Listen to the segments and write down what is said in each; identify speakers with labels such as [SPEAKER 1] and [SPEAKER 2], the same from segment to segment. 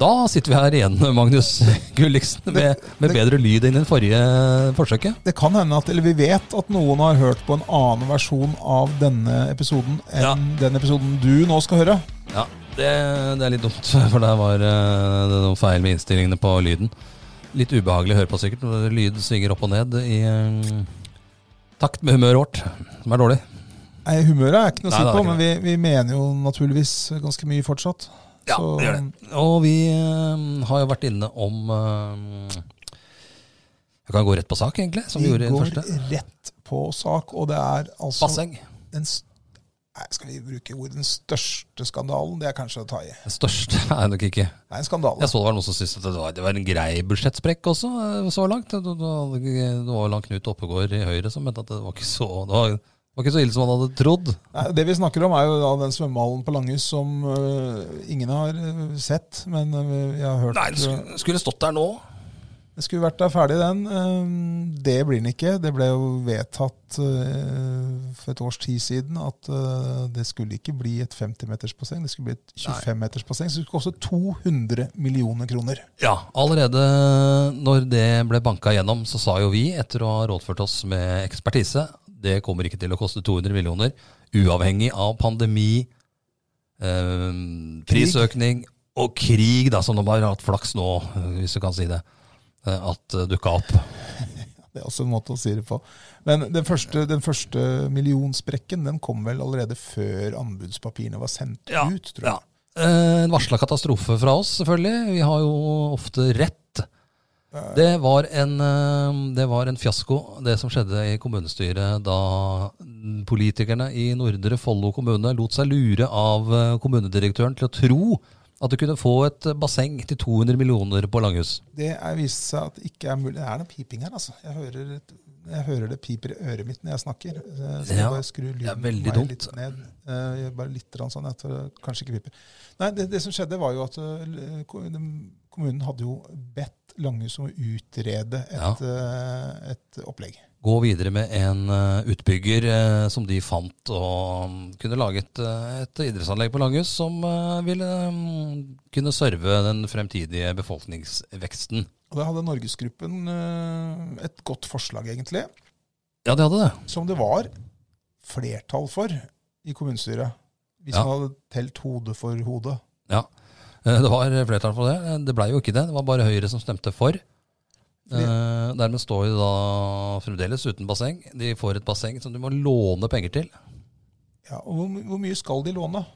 [SPEAKER 1] Da sitter vi her igjen, Magnus Gulliksen, med, med bedre lyd enn den forrige forsøket.
[SPEAKER 2] Det kan hende at, eller Vi vet at noen har hørt på en annen versjon av denne episoden enn
[SPEAKER 1] Ja.
[SPEAKER 2] den episoden du nå skal høre.
[SPEAKER 1] Ja, det, det er litt dumt, for der var eh, det noen feil med innstillingene på lyden. Litt ubehagelig å høre på, sikkert. når Lyd svinger opp og ned i eh, takt med humøret vårt, som er dårlig.
[SPEAKER 2] Nei, Humøret er ikke noe å si
[SPEAKER 1] Nei, det er
[SPEAKER 2] på,
[SPEAKER 1] ikke
[SPEAKER 2] men vi, vi mener jo naturligvis ganske mye fortsatt.
[SPEAKER 1] Ja,
[SPEAKER 2] Så-
[SPEAKER 1] det gjør det. Og vi eh, har jo vært inne om eh, Jeg kan gå rett på sak, egentlig, som vi
[SPEAKER 2] Vi
[SPEAKER 1] gjorde i den
[SPEAKER 2] går
[SPEAKER 1] første.
[SPEAKER 2] rett på sak, og det er altså
[SPEAKER 1] Basseng.
[SPEAKER 2] den s- Nei, skal vi bruke ordet den største skandalen? Det er kanskje å ta i. Det
[SPEAKER 1] Den største er det nok ikke.
[SPEAKER 2] er en skandale.
[SPEAKER 1] Jeg så det var noen som syntes at det var, det var en grei budsjettsprekk også, eh, så langt. Det, det, det, det var langt Knut Oppegård i Høyre som mente at det var ikke så, det var, det var ikke så ille som han hadde trodd.
[SPEAKER 2] Nei, det vi snakker om, er jo da den svømmehallen på Langhus som øh, ingen har øh, sett, men øh, jeg har hørt
[SPEAKER 1] Nei, det
[SPEAKER 2] øh,
[SPEAKER 1] skulle, skulle stått der nå.
[SPEAKER 2] Det skulle vært der ferdig, den. Ehm, Det blir den ikke. Det ble jo vedtatt eh, for et års tid siden at eh, det skulle ikke bli et 50-metersbasseng, det skulle bli et 25-metersbasseng. Så det skulle koste 200 millioner kroner.
[SPEAKER 1] Ja, allerede når det ble banka gjennom, så sa jo vi, etter å ha rådført oss med ekspertise, det kommer ikke til å koste 200 millioner, uavhengig av pandemi, eh, prisøkning og krig, da, som de har hatt flaks nå, eh, hvis du kan si det, eh, at eh, dukka opp.
[SPEAKER 2] Det er også en måte å si det på. Men den første, den første millionsprekken den kom vel allerede før anbudspapirene var sendt
[SPEAKER 1] Ja,
[SPEAKER 2] ut, tror jeg.
[SPEAKER 1] Ja. Eh, En varsla katastrofe fra oss, selvfølgelig. Vi har jo ofte rett. Det var, en, eh, det var en fiasko, det som skjedde i kommunestyret da politikerne i Nordre Follo kommune lot seg lure av eh, kommunedirektøren til å tro at du kunne få et basseng til 200 millioner på Langhus.
[SPEAKER 2] Det er viste seg at det ikke er mulig. Det er noe piping her, altså. Jeg hører, et- jeg hører det piper i øret mitt når jeg snakker. Eh, Så jeg
[SPEAKER 1] Ja,
[SPEAKER 2] bare skru
[SPEAKER 1] det er
[SPEAKER 2] lyden
[SPEAKER 1] veldig
[SPEAKER 2] meg
[SPEAKER 1] dumt.
[SPEAKER 2] litt ned. Eh, jeg bare litt grann sånn, jeg tror det kanskje ikke piper. Nei, det, det som skjedde var jo at eh, ko- de- kommunen hadde jo bedt Langhus om å utrede et,
[SPEAKER 1] Ja.
[SPEAKER 2] eh, et opplegg.
[SPEAKER 1] Gå videre med en eh, utbygger eh, som de fant, og mm, kunne lage et, eh, et idrettsanlegg på Langhus som eh, ville mm, kunne serve den fremtidige befolkningsveksten.
[SPEAKER 2] Og da hadde Norgesgruppen eh, et godt forslag, egentlig,
[SPEAKER 1] Ja, de hadde det.
[SPEAKER 2] som det var flertall for i kommunestyret. Hvis
[SPEAKER 1] Ja.
[SPEAKER 2] man hadde telt hode for hode.
[SPEAKER 1] Ja. Eh, Det var flertall for det. Eh, Det blei jo ikke det. Det var bare Høyre som stemte for. Eh, dermed står de da fremdeles uten basseng. De får et basseng som de må låne penger til.
[SPEAKER 2] Ja, og hvor, my- hvor mye skal de låne?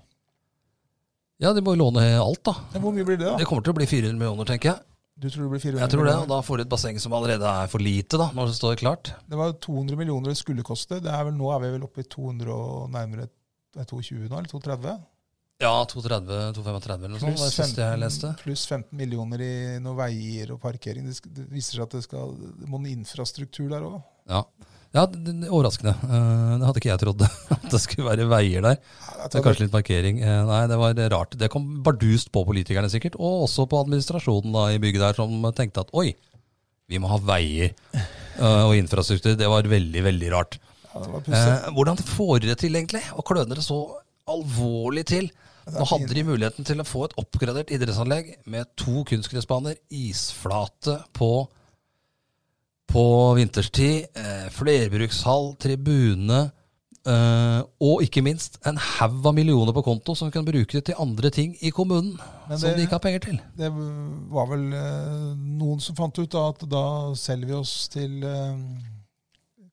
[SPEAKER 1] Ja, de må jo låne alt, da.
[SPEAKER 2] Ja, Hvor mye blir det, da?
[SPEAKER 1] Det kommer til å bli 400 millioner, tenker jeg.
[SPEAKER 2] Du tror det blir 400
[SPEAKER 1] Jeg tror det, og
[SPEAKER 2] millioner?
[SPEAKER 1] Da får de et basseng som allerede er for lite, da, når det står klart.
[SPEAKER 2] Det var 200 millioner det skulle koste. Det er vel, nå er vi vel oppe i 200 og nærmere det er 220 nå, eller 230?
[SPEAKER 1] Ja, 230-235 eller noe sånt. var Det siste jeg leste.
[SPEAKER 2] pluss 15 millioner i noen veier og parkering. Det, sk- det viser seg at det skal det må en infrastruktur der òg.
[SPEAKER 1] Ja, ja det, det, Overraskende. Eh, Det hadde ikke jeg trodd. At det skulle være veier der. Det er kanskje litt parkering. Eh, Nei, det var rart. Det kom bardust på politikerne sikkert, og også på administrasjonen da i bygget der, som tenkte at oi, vi må ha veier eh, og infrastruktur. Det var veldig, veldig rart.
[SPEAKER 2] Ja, det var pussig.
[SPEAKER 1] Eh, hvordan får dere det til egentlig, og kløner det så alvorlig til? Nå hadde de muligheten til å få et oppgradert idrettsanlegg med to kunstgressbaner, isflate på, på vinterstid, eh, flerbrukshall, tribune, eh, og ikke minst en haug av millioner på konto som kan bruke det til andre ting i kommunen,
[SPEAKER 2] Men
[SPEAKER 1] som
[SPEAKER 2] det-
[SPEAKER 1] de ikke har penger til.
[SPEAKER 2] Det var vel eh, noen som fant ut da, at da selger vi oss til eh,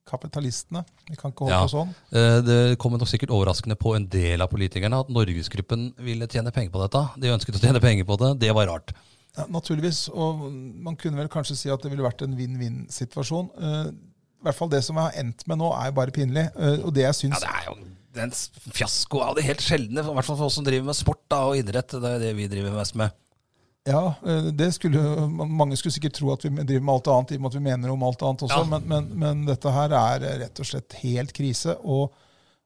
[SPEAKER 2] kapitalistene. Vi kan ikke holde
[SPEAKER 1] Ja.
[SPEAKER 2] på sånn.
[SPEAKER 1] Eh, Det kommer nok sikkert overraskende på en del av politikerne at Norgesgruppen ville tjene penger på dette. De ønsket å tjene penger på det. Det var rart.
[SPEAKER 2] Ja, naturligvis. Og man kunne vel kanskje si at det ville vært en vinn-vinn-situasjon. Eh, I hvert fall det som jeg har endt med nå, er jo bare pinlig. Eh, og det jeg
[SPEAKER 1] Ja,
[SPEAKER 2] syns
[SPEAKER 1] det er jo en s- fiasko av det helt sjeldne, i hvert fall for oss som driver med sport da, og idrett. Det er det vi driver mest med.
[SPEAKER 2] Ja, eh, det skulle jo- Mange skulle sikkert tro at vi driver med alt annet, i og med at vi mener om alt annet også,
[SPEAKER 1] Ja.
[SPEAKER 2] men, men, men dette her er rett og slett helt krise. Og,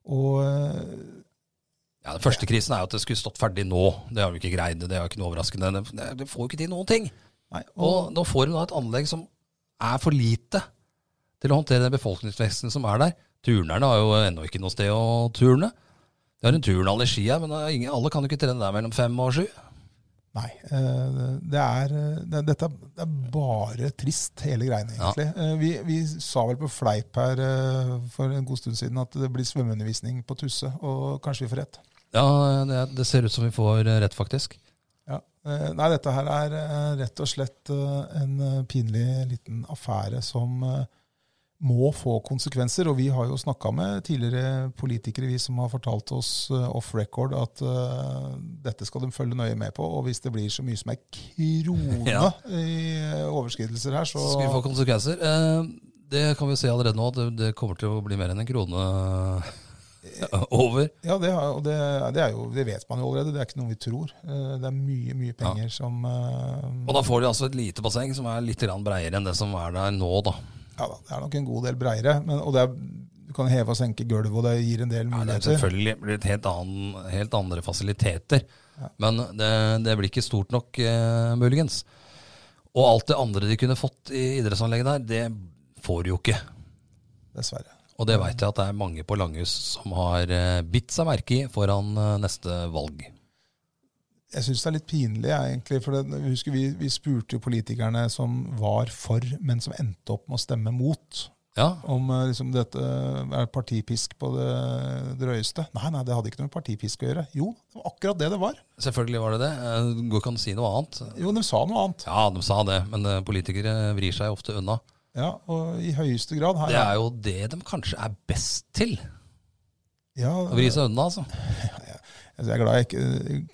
[SPEAKER 2] og eh,
[SPEAKER 1] Ja, Den første krisen er jo at det skulle stått ferdig nå. Det har vi ikke greid. Det er jo ikke noe overraskende. Det- Det får jo ikke til noen ting.
[SPEAKER 2] Nei, og,
[SPEAKER 1] Og nå får de da et anlegg som er for lite til å håndtere den befolkningsveksten som er der. Turnerne har jo ennå ikke noe sted å turne. De har en turnhall i Skia, men det er ingen, alle kan jo ikke trene der mellom fem og sju.
[SPEAKER 2] nei eh, det er, eh, det, dette er, det er bare trist, hele greiene,
[SPEAKER 1] Ja.
[SPEAKER 2] egentlig. Eh, Vi, vi sa vel på fleip her eh, for en god stund siden at det blir svømmeundervisning på Tusse, og kanskje vi får rett.
[SPEAKER 1] Ja, det, det ser ut som vi får rett, faktisk.
[SPEAKER 2] Ja. eh, Nei, dette her er eh, rett og slett eh, en eh, pinlig liten affære som eh, må få konsekvenser. Og vi har jo snakka med tidligere politikere vi som har fortalt oss eh, off record at eh, dette skal de følge nøye med på. Og hvis det blir så mye som ei krone
[SPEAKER 1] Ja.
[SPEAKER 2] i eh, overskridelser her, så
[SPEAKER 1] Så skal vi få konsekvenser. Eh, Det kan vi se allerede nå. Det, det kommer til å bli mer enn en krone eh, over.
[SPEAKER 2] Ja, det, har, og det, det, er jo, det vet man jo allerede. Det er ikke noe vi tror. Eh, Det er mye, mye penger som eh,
[SPEAKER 1] Og da får de altså et lite basseng som er litt grann breiere enn det som er der nå, da.
[SPEAKER 2] Ja da, det er nok en god del breiere. Men, og det er, du kan heve og senke gulvet, og det gir en
[SPEAKER 1] Ja,
[SPEAKER 2] del
[SPEAKER 1] det er
[SPEAKER 2] muligheter.
[SPEAKER 1] selvfølgelig blir det helt, annen, helt andre fasiliteter.
[SPEAKER 2] Ja.
[SPEAKER 1] Men det, det blir ikke stort nok, eh, muligens. Og alt det andre de kunne fått i idrettsanlegget der, det får de jo ikke.
[SPEAKER 2] Dessverre.
[SPEAKER 1] Og det veit jeg at det er mange på Langhus som har eh, bitt seg merke i foran eh, neste valg.
[SPEAKER 2] Jeg syns det er litt pinlig, jeg, egentlig. For det, jeg husker vi, vi spurte jo politikerne som var for, men som endte opp med å stemme mot.
[SPEAKER 1] Ja,
[SPEAKER 2] Om eh, liksom, dette er partipisk på det drøyeste. Nei, nei, det hadde ikke noe med partipisk å gjøre. Jo, det var akkurat det det var.
[SPEAKER 1] selvfølgelig var det det. Eh, det Går ikke an å si noe annet.
[SPEAKER 2] Jo, de sa noe annet.
[SPEAKER 1] Ja, de sa det, men eh, politikere vrir seg ofte unna.
[SPEAKER 2] Ja, og i høyeste grad. Her,
[SPEAKER 1] Det er jo det de kanskje er best til.
[SPEAKER 2] ja,
[SPEAKER 1] Å vri seg unna, altså.
[SPEAKER 2] Altså, jeg er glad jeg ikke,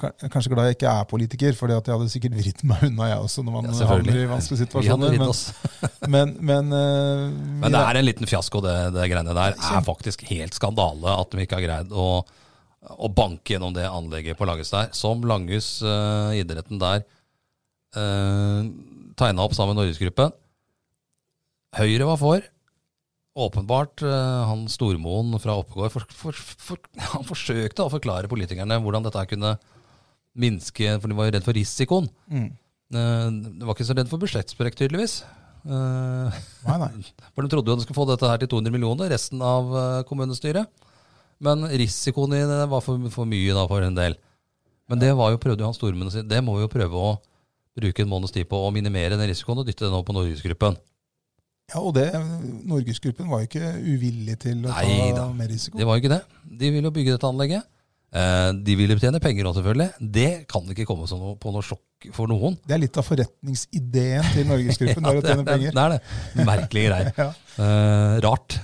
[SPEAKER 2] kan- jeg er kanskje glad jeg ikke er politiker, for jeg hadde sikkert vridd meg unna, jeg også, når man
[SPEAKER 1] Ja,
[SPEAKER 2] havner i
[SPEAKER 1] selvfølgelig.
[SPEAKER 2] vanskelige
[SPEAKER 1] Vi hadde
[SPEAKER 2] situasjoner.
[SPEAKER 1] ridd
[SPEAKER 2] sånn Men,
[SPEAKER 1] oss.
[SPEAKER 2] men, men, eh, vi-
[SPEAKER 1] Men det er en liten fiasko, det, det greiene der. Det er faktisk helt skandale at de ikke har greid å, å banke gjennom det anlegget på Langhus der. Som Langhus, eh, idretten der, uh, tegna opp sammen med Norgesgruppen. Høyre var for. Åpenbart, eh, han Stormoen fra Oppegård for, for, for, Han forsøkte å forklare politikerne hvordan dette her kunne minske, for de var jo redd for risikoen.
[SPEAKER 2] Mm.
[SPEAKER 1] Eh, De var ikke så redd for budsjettsprekk, tydeligvis. Eh,
[SPEAKER 2] Nei, nei.
[SPEAKER 1] for de trodde jo de skulle få dette her til 200 millioner, resten av eh, kommunestyret. Men risikoen i det var for, for mye da for en del. Men det var jo prøvde jo han Stormen å si. Det må vi jo prøve å bruke en måneds tid på å minimere den risikoen og dytte den opp på Norgesgruppen.
[SPEAKER 2] Ja, og det, Norgesgruppen var jo ikke uvillig til å
[SPEAKER 1] Nei da.
[SPEAKER 2] ta mer risiko.
[SPEAKER 1] Det var jo ikke det. De ville jo bygge dette anlegget. Eh, De ville tjene penger òg, selvfølgelig. Det kan ikke komme som noe, på noe sjokk for noen.
[SPEAKER 2] Det er litt av forretningsideen til Norgesgruppen, det er å tjene
[SPEAKER 1] det,
[SPEAKER 2] penger.
[SPEAKER 1] det er det. Merkelige greier.
[SPEAKER 2] Ja.
[SPEAKER 1] Eh, rart.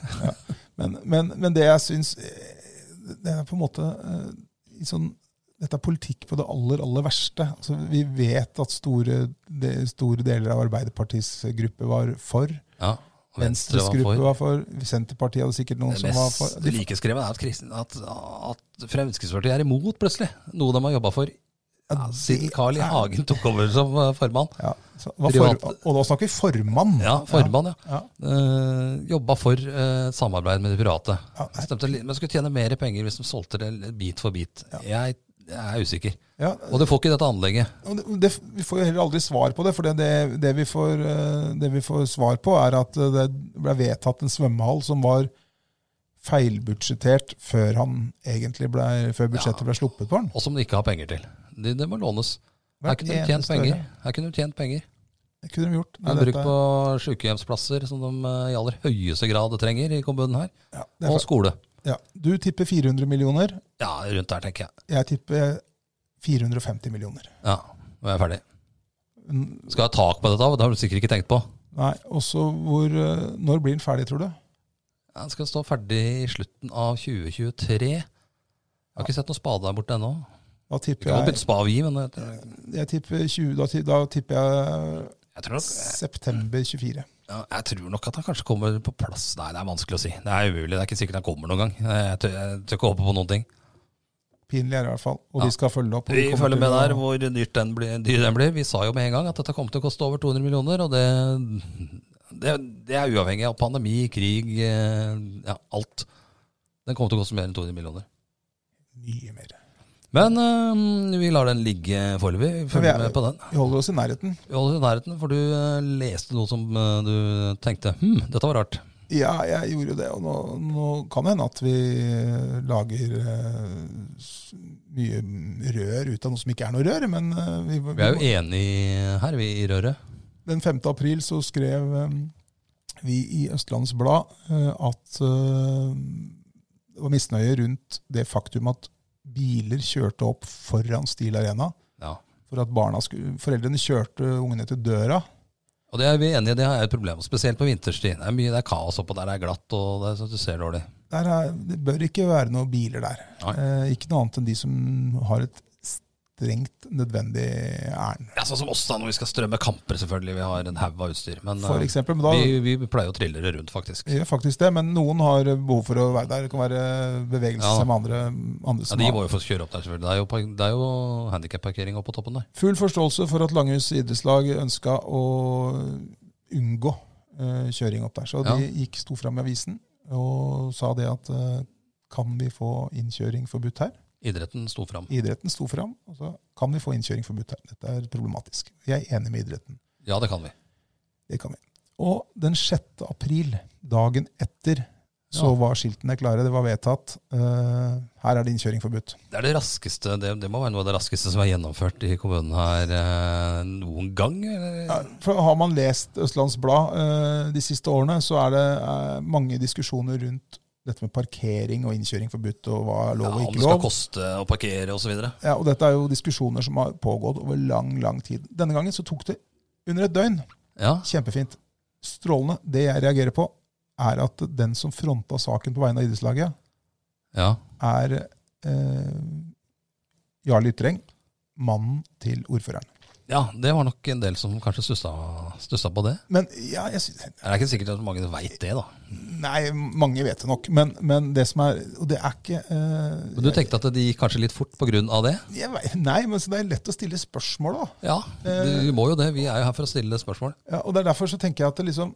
[SPEAKER 2] Men, men, men det jeg syns eh, Det er på en måte eh, i sånn, Dette er politikk på det aller, aller verste. Altså, vi vet at store, de, store deler av Arbeiderpartiets gruppe var for.
[SPEAKER 1] Ja. og Venstre var
[SPEAKER 2] Venstres
[SPEAKER 1] for.
[SPEAKER 2] gruppe var for. Senterpartiet hadde sikkert noen
[SPEAKER 1] Det
[SPEAKER 2] som var for.
[SPEAKER 1] mest
[SPEAKER 2] De,
[SPEAKER 1] likeskrevet er at, kristen, at, at Fremskrittspartiet er imot, plutselig. Noe de har jobba for ja,
[SPEAKER 2] det
[SPEAKER 1] siden Carl I.
[SPEAKER 2] er-
[SPEAKER 1] Hagen tok over som eh, formann.
[SPEAKER 2] ja, så, var
[SPEAKER 1] Privat-
[SPEAKER 2] for, og nå snakker vi formann.
[SPEAKER 1] Ja, formann, ja.
[SPEAKER 2] Ja,
[SPEAKER 1] Eh, jobba for eh, samarbeid med de private.
[SPEAKER 2] ja, nei,
[SPEAKER 1] Stemte litt, men skulle tjene mer penger hvis de solgte det bit for bit. Jeg, jeg er usikker.
[SPEAKER 2] ja,
[SPEAKER 1] Og du får ikke dette anlegget.
[SPEAKER 2] Og det, det, vi får jo heller aldri svar på det, for det, det, det, vi får, eh, det vi får svar på, er at eh, det ble vedtatt en svømmehall som var feilbudsjettert før, han egentlig ble, før budsjettet
[SPEAKER 1] Ja.
[SPEAKER 2] ble sluppet på den.
[SPEAKER 1] Og som de ikke har penger til. Det, det må lånes. Her
[SPEAKER 2] Hvert
[SPEAKER 1] kunne de tjent
[SPEAKER 2] eneste
[SPEAKER 1] penger.
[SPEAKER 2] øre.
[SPEAKER 1] Her kunne de tjent penger.
[SPEAKER 2] Det kunne de gjort. Nei,
[SPEAKER 1] Brukt
[SPEAKER 2] dette-
[SPEAKER 1] på sykehjemsplasser, som de eh, i aller høyeste grad trenger i kommunen her.
[SPEAKER 2] ja, det er
[SPEAKER 1] Og
[SPEAKER 2] for-
[SPEAKER 1] skole.
[SPEAKER 2] ja. Du tipper 400 millioner,
[SPEAKER 1] Ja, rundt der, tenker jeg.
[SPEAKER 2] jeg tipper 450 millioner.
[SPEAKER 1] Ja, nå er jeg ferdig. Skal jeg ha tak på dette? da? Det har du sikkert ikke tenkt på.
[SPEAKER 2] Nei, også hvor, eh, Når blir den ferdig, tror du?
[SPEAKER 1] Den skal stå ferdig i slutten av 2023. Jeg har ikke sett noen spade der borte ennå.
[SPEAKER 2] Da
[SPEAKER 1] Vi kan jo
[SPEAKER 2] tipper jeg,
[SPEAKER 1] bytte spade vi, men jeg,
[SPEAKER 2] jeg tipper 20, da, ti- da tipper jeg
[SPEAKER 1] jeg, tror nok,
[SPEAKER 2] september 24.
[SPEAKER 1] ja, jeg tror nok at han kanskje kommer på plass. Nei, det er vanskelig å si. Det er umulig. Det er ikke sikkert han kommer noen gang. Jeg tør, jeg tør ikke håpe på noen ting.
[SPEAKER 2] Pinlig er det i hvert fall. Og
[SPEAKER 1] Ja.
[SPEAKER 2] vi skal følge opp. og
[SPEAKER 1] Vi
[SPEAKER 2] kommer
[SPEAKER 1] følger
[SPEAKER 2] til
[SPEAKER 1] med
[SPEAKER 2] å-
[SPEAKER 1] der hvor dyrt den blir. Dyr den blir. Vi sa jo med en gang at dette kom til å koste over 200 millioner, og det, det, det er uavhengig av pandemi, krig, eh, ja, alt. Den kommer til å koste mer enn 200 millioner.
[SPEAKER 2] Mye mer.
[SPEAKER 1] Men eh, vi lar den ligge foreløpig. Vi
[SPEAKER 2] vi
[SPEAKER 1] Følger
[SPEAKER 2] er-
[SPEAKER 1] med på den.
[SPEAKER 2] Vi holder oss i nærheten.
[SPEAKER 1] Vi holder i nærheten, for du eh, leste noe som eh, du tenkte Hm, dette var rart.
[SPEAKER 2] Ja, jeg gjorde jo det. Og nå, nå kan det hende at vi lager eh, s- mye rør ut av noe som ikke er noe rør. Men eh, vi,
[SPEAKER 1] Vi er jo enige her, vi i røret.
[SPEAKER 2] den 5. april så skrev eh, vi i Østlandets Blad eh, at eh, det var misnøye rundt det faktum at biler kjørte opp foran Stil Arena.
[SPEAKER 1] Ja.
[SPEAKER 2] For at barna skulle, foreldrene kjørte ungene til døra.
[SPEAKER 1] Og det er vi enige i, det er et problem. Spesielt på vinterstid. Det er mye det er kaos oppå der, det er glatt, og det er sånn at du ser dårlig.
[SPEAKER 2] Der er, det bør ikke være noen biler der.
[SPEAKER 1] Nei.
[SPEAKER 2] Eh, ikke noe annet enn de som har et strengt nødvendig ærend.
[SPEAKER 1] Ja, sånn som oss da, når vi skal strømme kamper, selvfølgelig. Vi har en haug av utstyr. Men
[SPEAKER 2] For
[SPEAKER 1] eh,
[SPEAKER 2] eksempel, men da
[SPEAKER 1] vi, vi pleier å trille det rundt, faktisk.
[SPEAKER 2] gjør faktisk det, men noen har behov for å være der. Det kan være bevegelse
[SPEAKER 1] Ja.
[SPEAKER 2] med andre, andre
[SPEAKER 1] Ja,
[SPEAKER 2] som
[SPEAKER 1] De
[SPEAKER 2] har
[SPEAKER 1] må jo få kjøre opp der, selvfølgelig. Det er jo, park- det er jo handikapparkering oppe på toppen der.
[SPEAKER 2] Full forståelse for at Langhus idrettslag ønska å unngå eh, kjøring opp der. Så
[SPEAKER 1] Ja.
[SPEAKER 2] de gikk sto fram i avisen og sa det at eh, kan vi få innkjøring forbudt her?
[SPEAKER 1] Idretten sto fram.
[SPEAKER 2] Idretten sto fram og sa kan vi få innkjøring forbudt her? Dette er problematisk. Jeg er enig med idretten.
[SPEAKER 1] Ja, det kan vi.
[SPEAKER 2] Det kan vi. Og den 6. april, dagen etter, så
[SPEAKER 1] Ja.
[SPEAKER 2] var skiltene klare. Det var vedtatt. Eh, her er det innkjøring forbudt.
[SPEAKER 1] Det er det raskeste, det, det må være noe av det raskeste som er gjennomført i kommunen her eh, noen gang. eller?
[SPEAKER 2] Ja, For har man lest Østlands Blad eh, de siste årene, så er det eh, mange diskusjoner rundt dette med parkering og innkjøring forbudt, og hva er
[SPEAKER 1] Ja,
[SPEAKER 2] lov og
[SPEAKER 1] om det
[SPEAKER 2] ikke
[SPEAKER 1] skal
[SPEAKER 2] lov.
[SPEAKER 1] koste å parkere osv.
[SPEAKER 2] Ja, og dette er jo diskusjoner som har pågått over lang, lang tid. Denne gangen så tok det under et døgn.
[SPEAKER 1] Ja,
[SPEAKER 2] Kjempefint. Strålende. Det jeg reagerer på, er at den som fronta saken på vegne av idrettslaget,
[SPEAKER 1] ja.
[SPEAKER 2] er eh, Jarl Ytreng, mannen til ordføreren.
[SPEAKER 1] ja, det var nok en del som kanskje stussa, stussa på det.
[SPEAKER 2] Men ja, jeg synes,
[SPEAKER 1] Det er ikke sikkert at mange veit det, da.
[SPEAKER 2] Nei, mange vet det nok. Men, men det som er Og det er ikke eh,
[SPEAKER 1] Men du tenkte at det gikk kanskje litt fort pga. det?
[SPEAKER 2] jeg, vet- Nei, men så det er lett å stille spørsmål, da.
[SPEAKER 1] Ja, det- vi må jo det. Vi er jo her for å stille spørsmål.
[SPEAKER 2] Ja, og det er derfor så tenker jeg at det liksom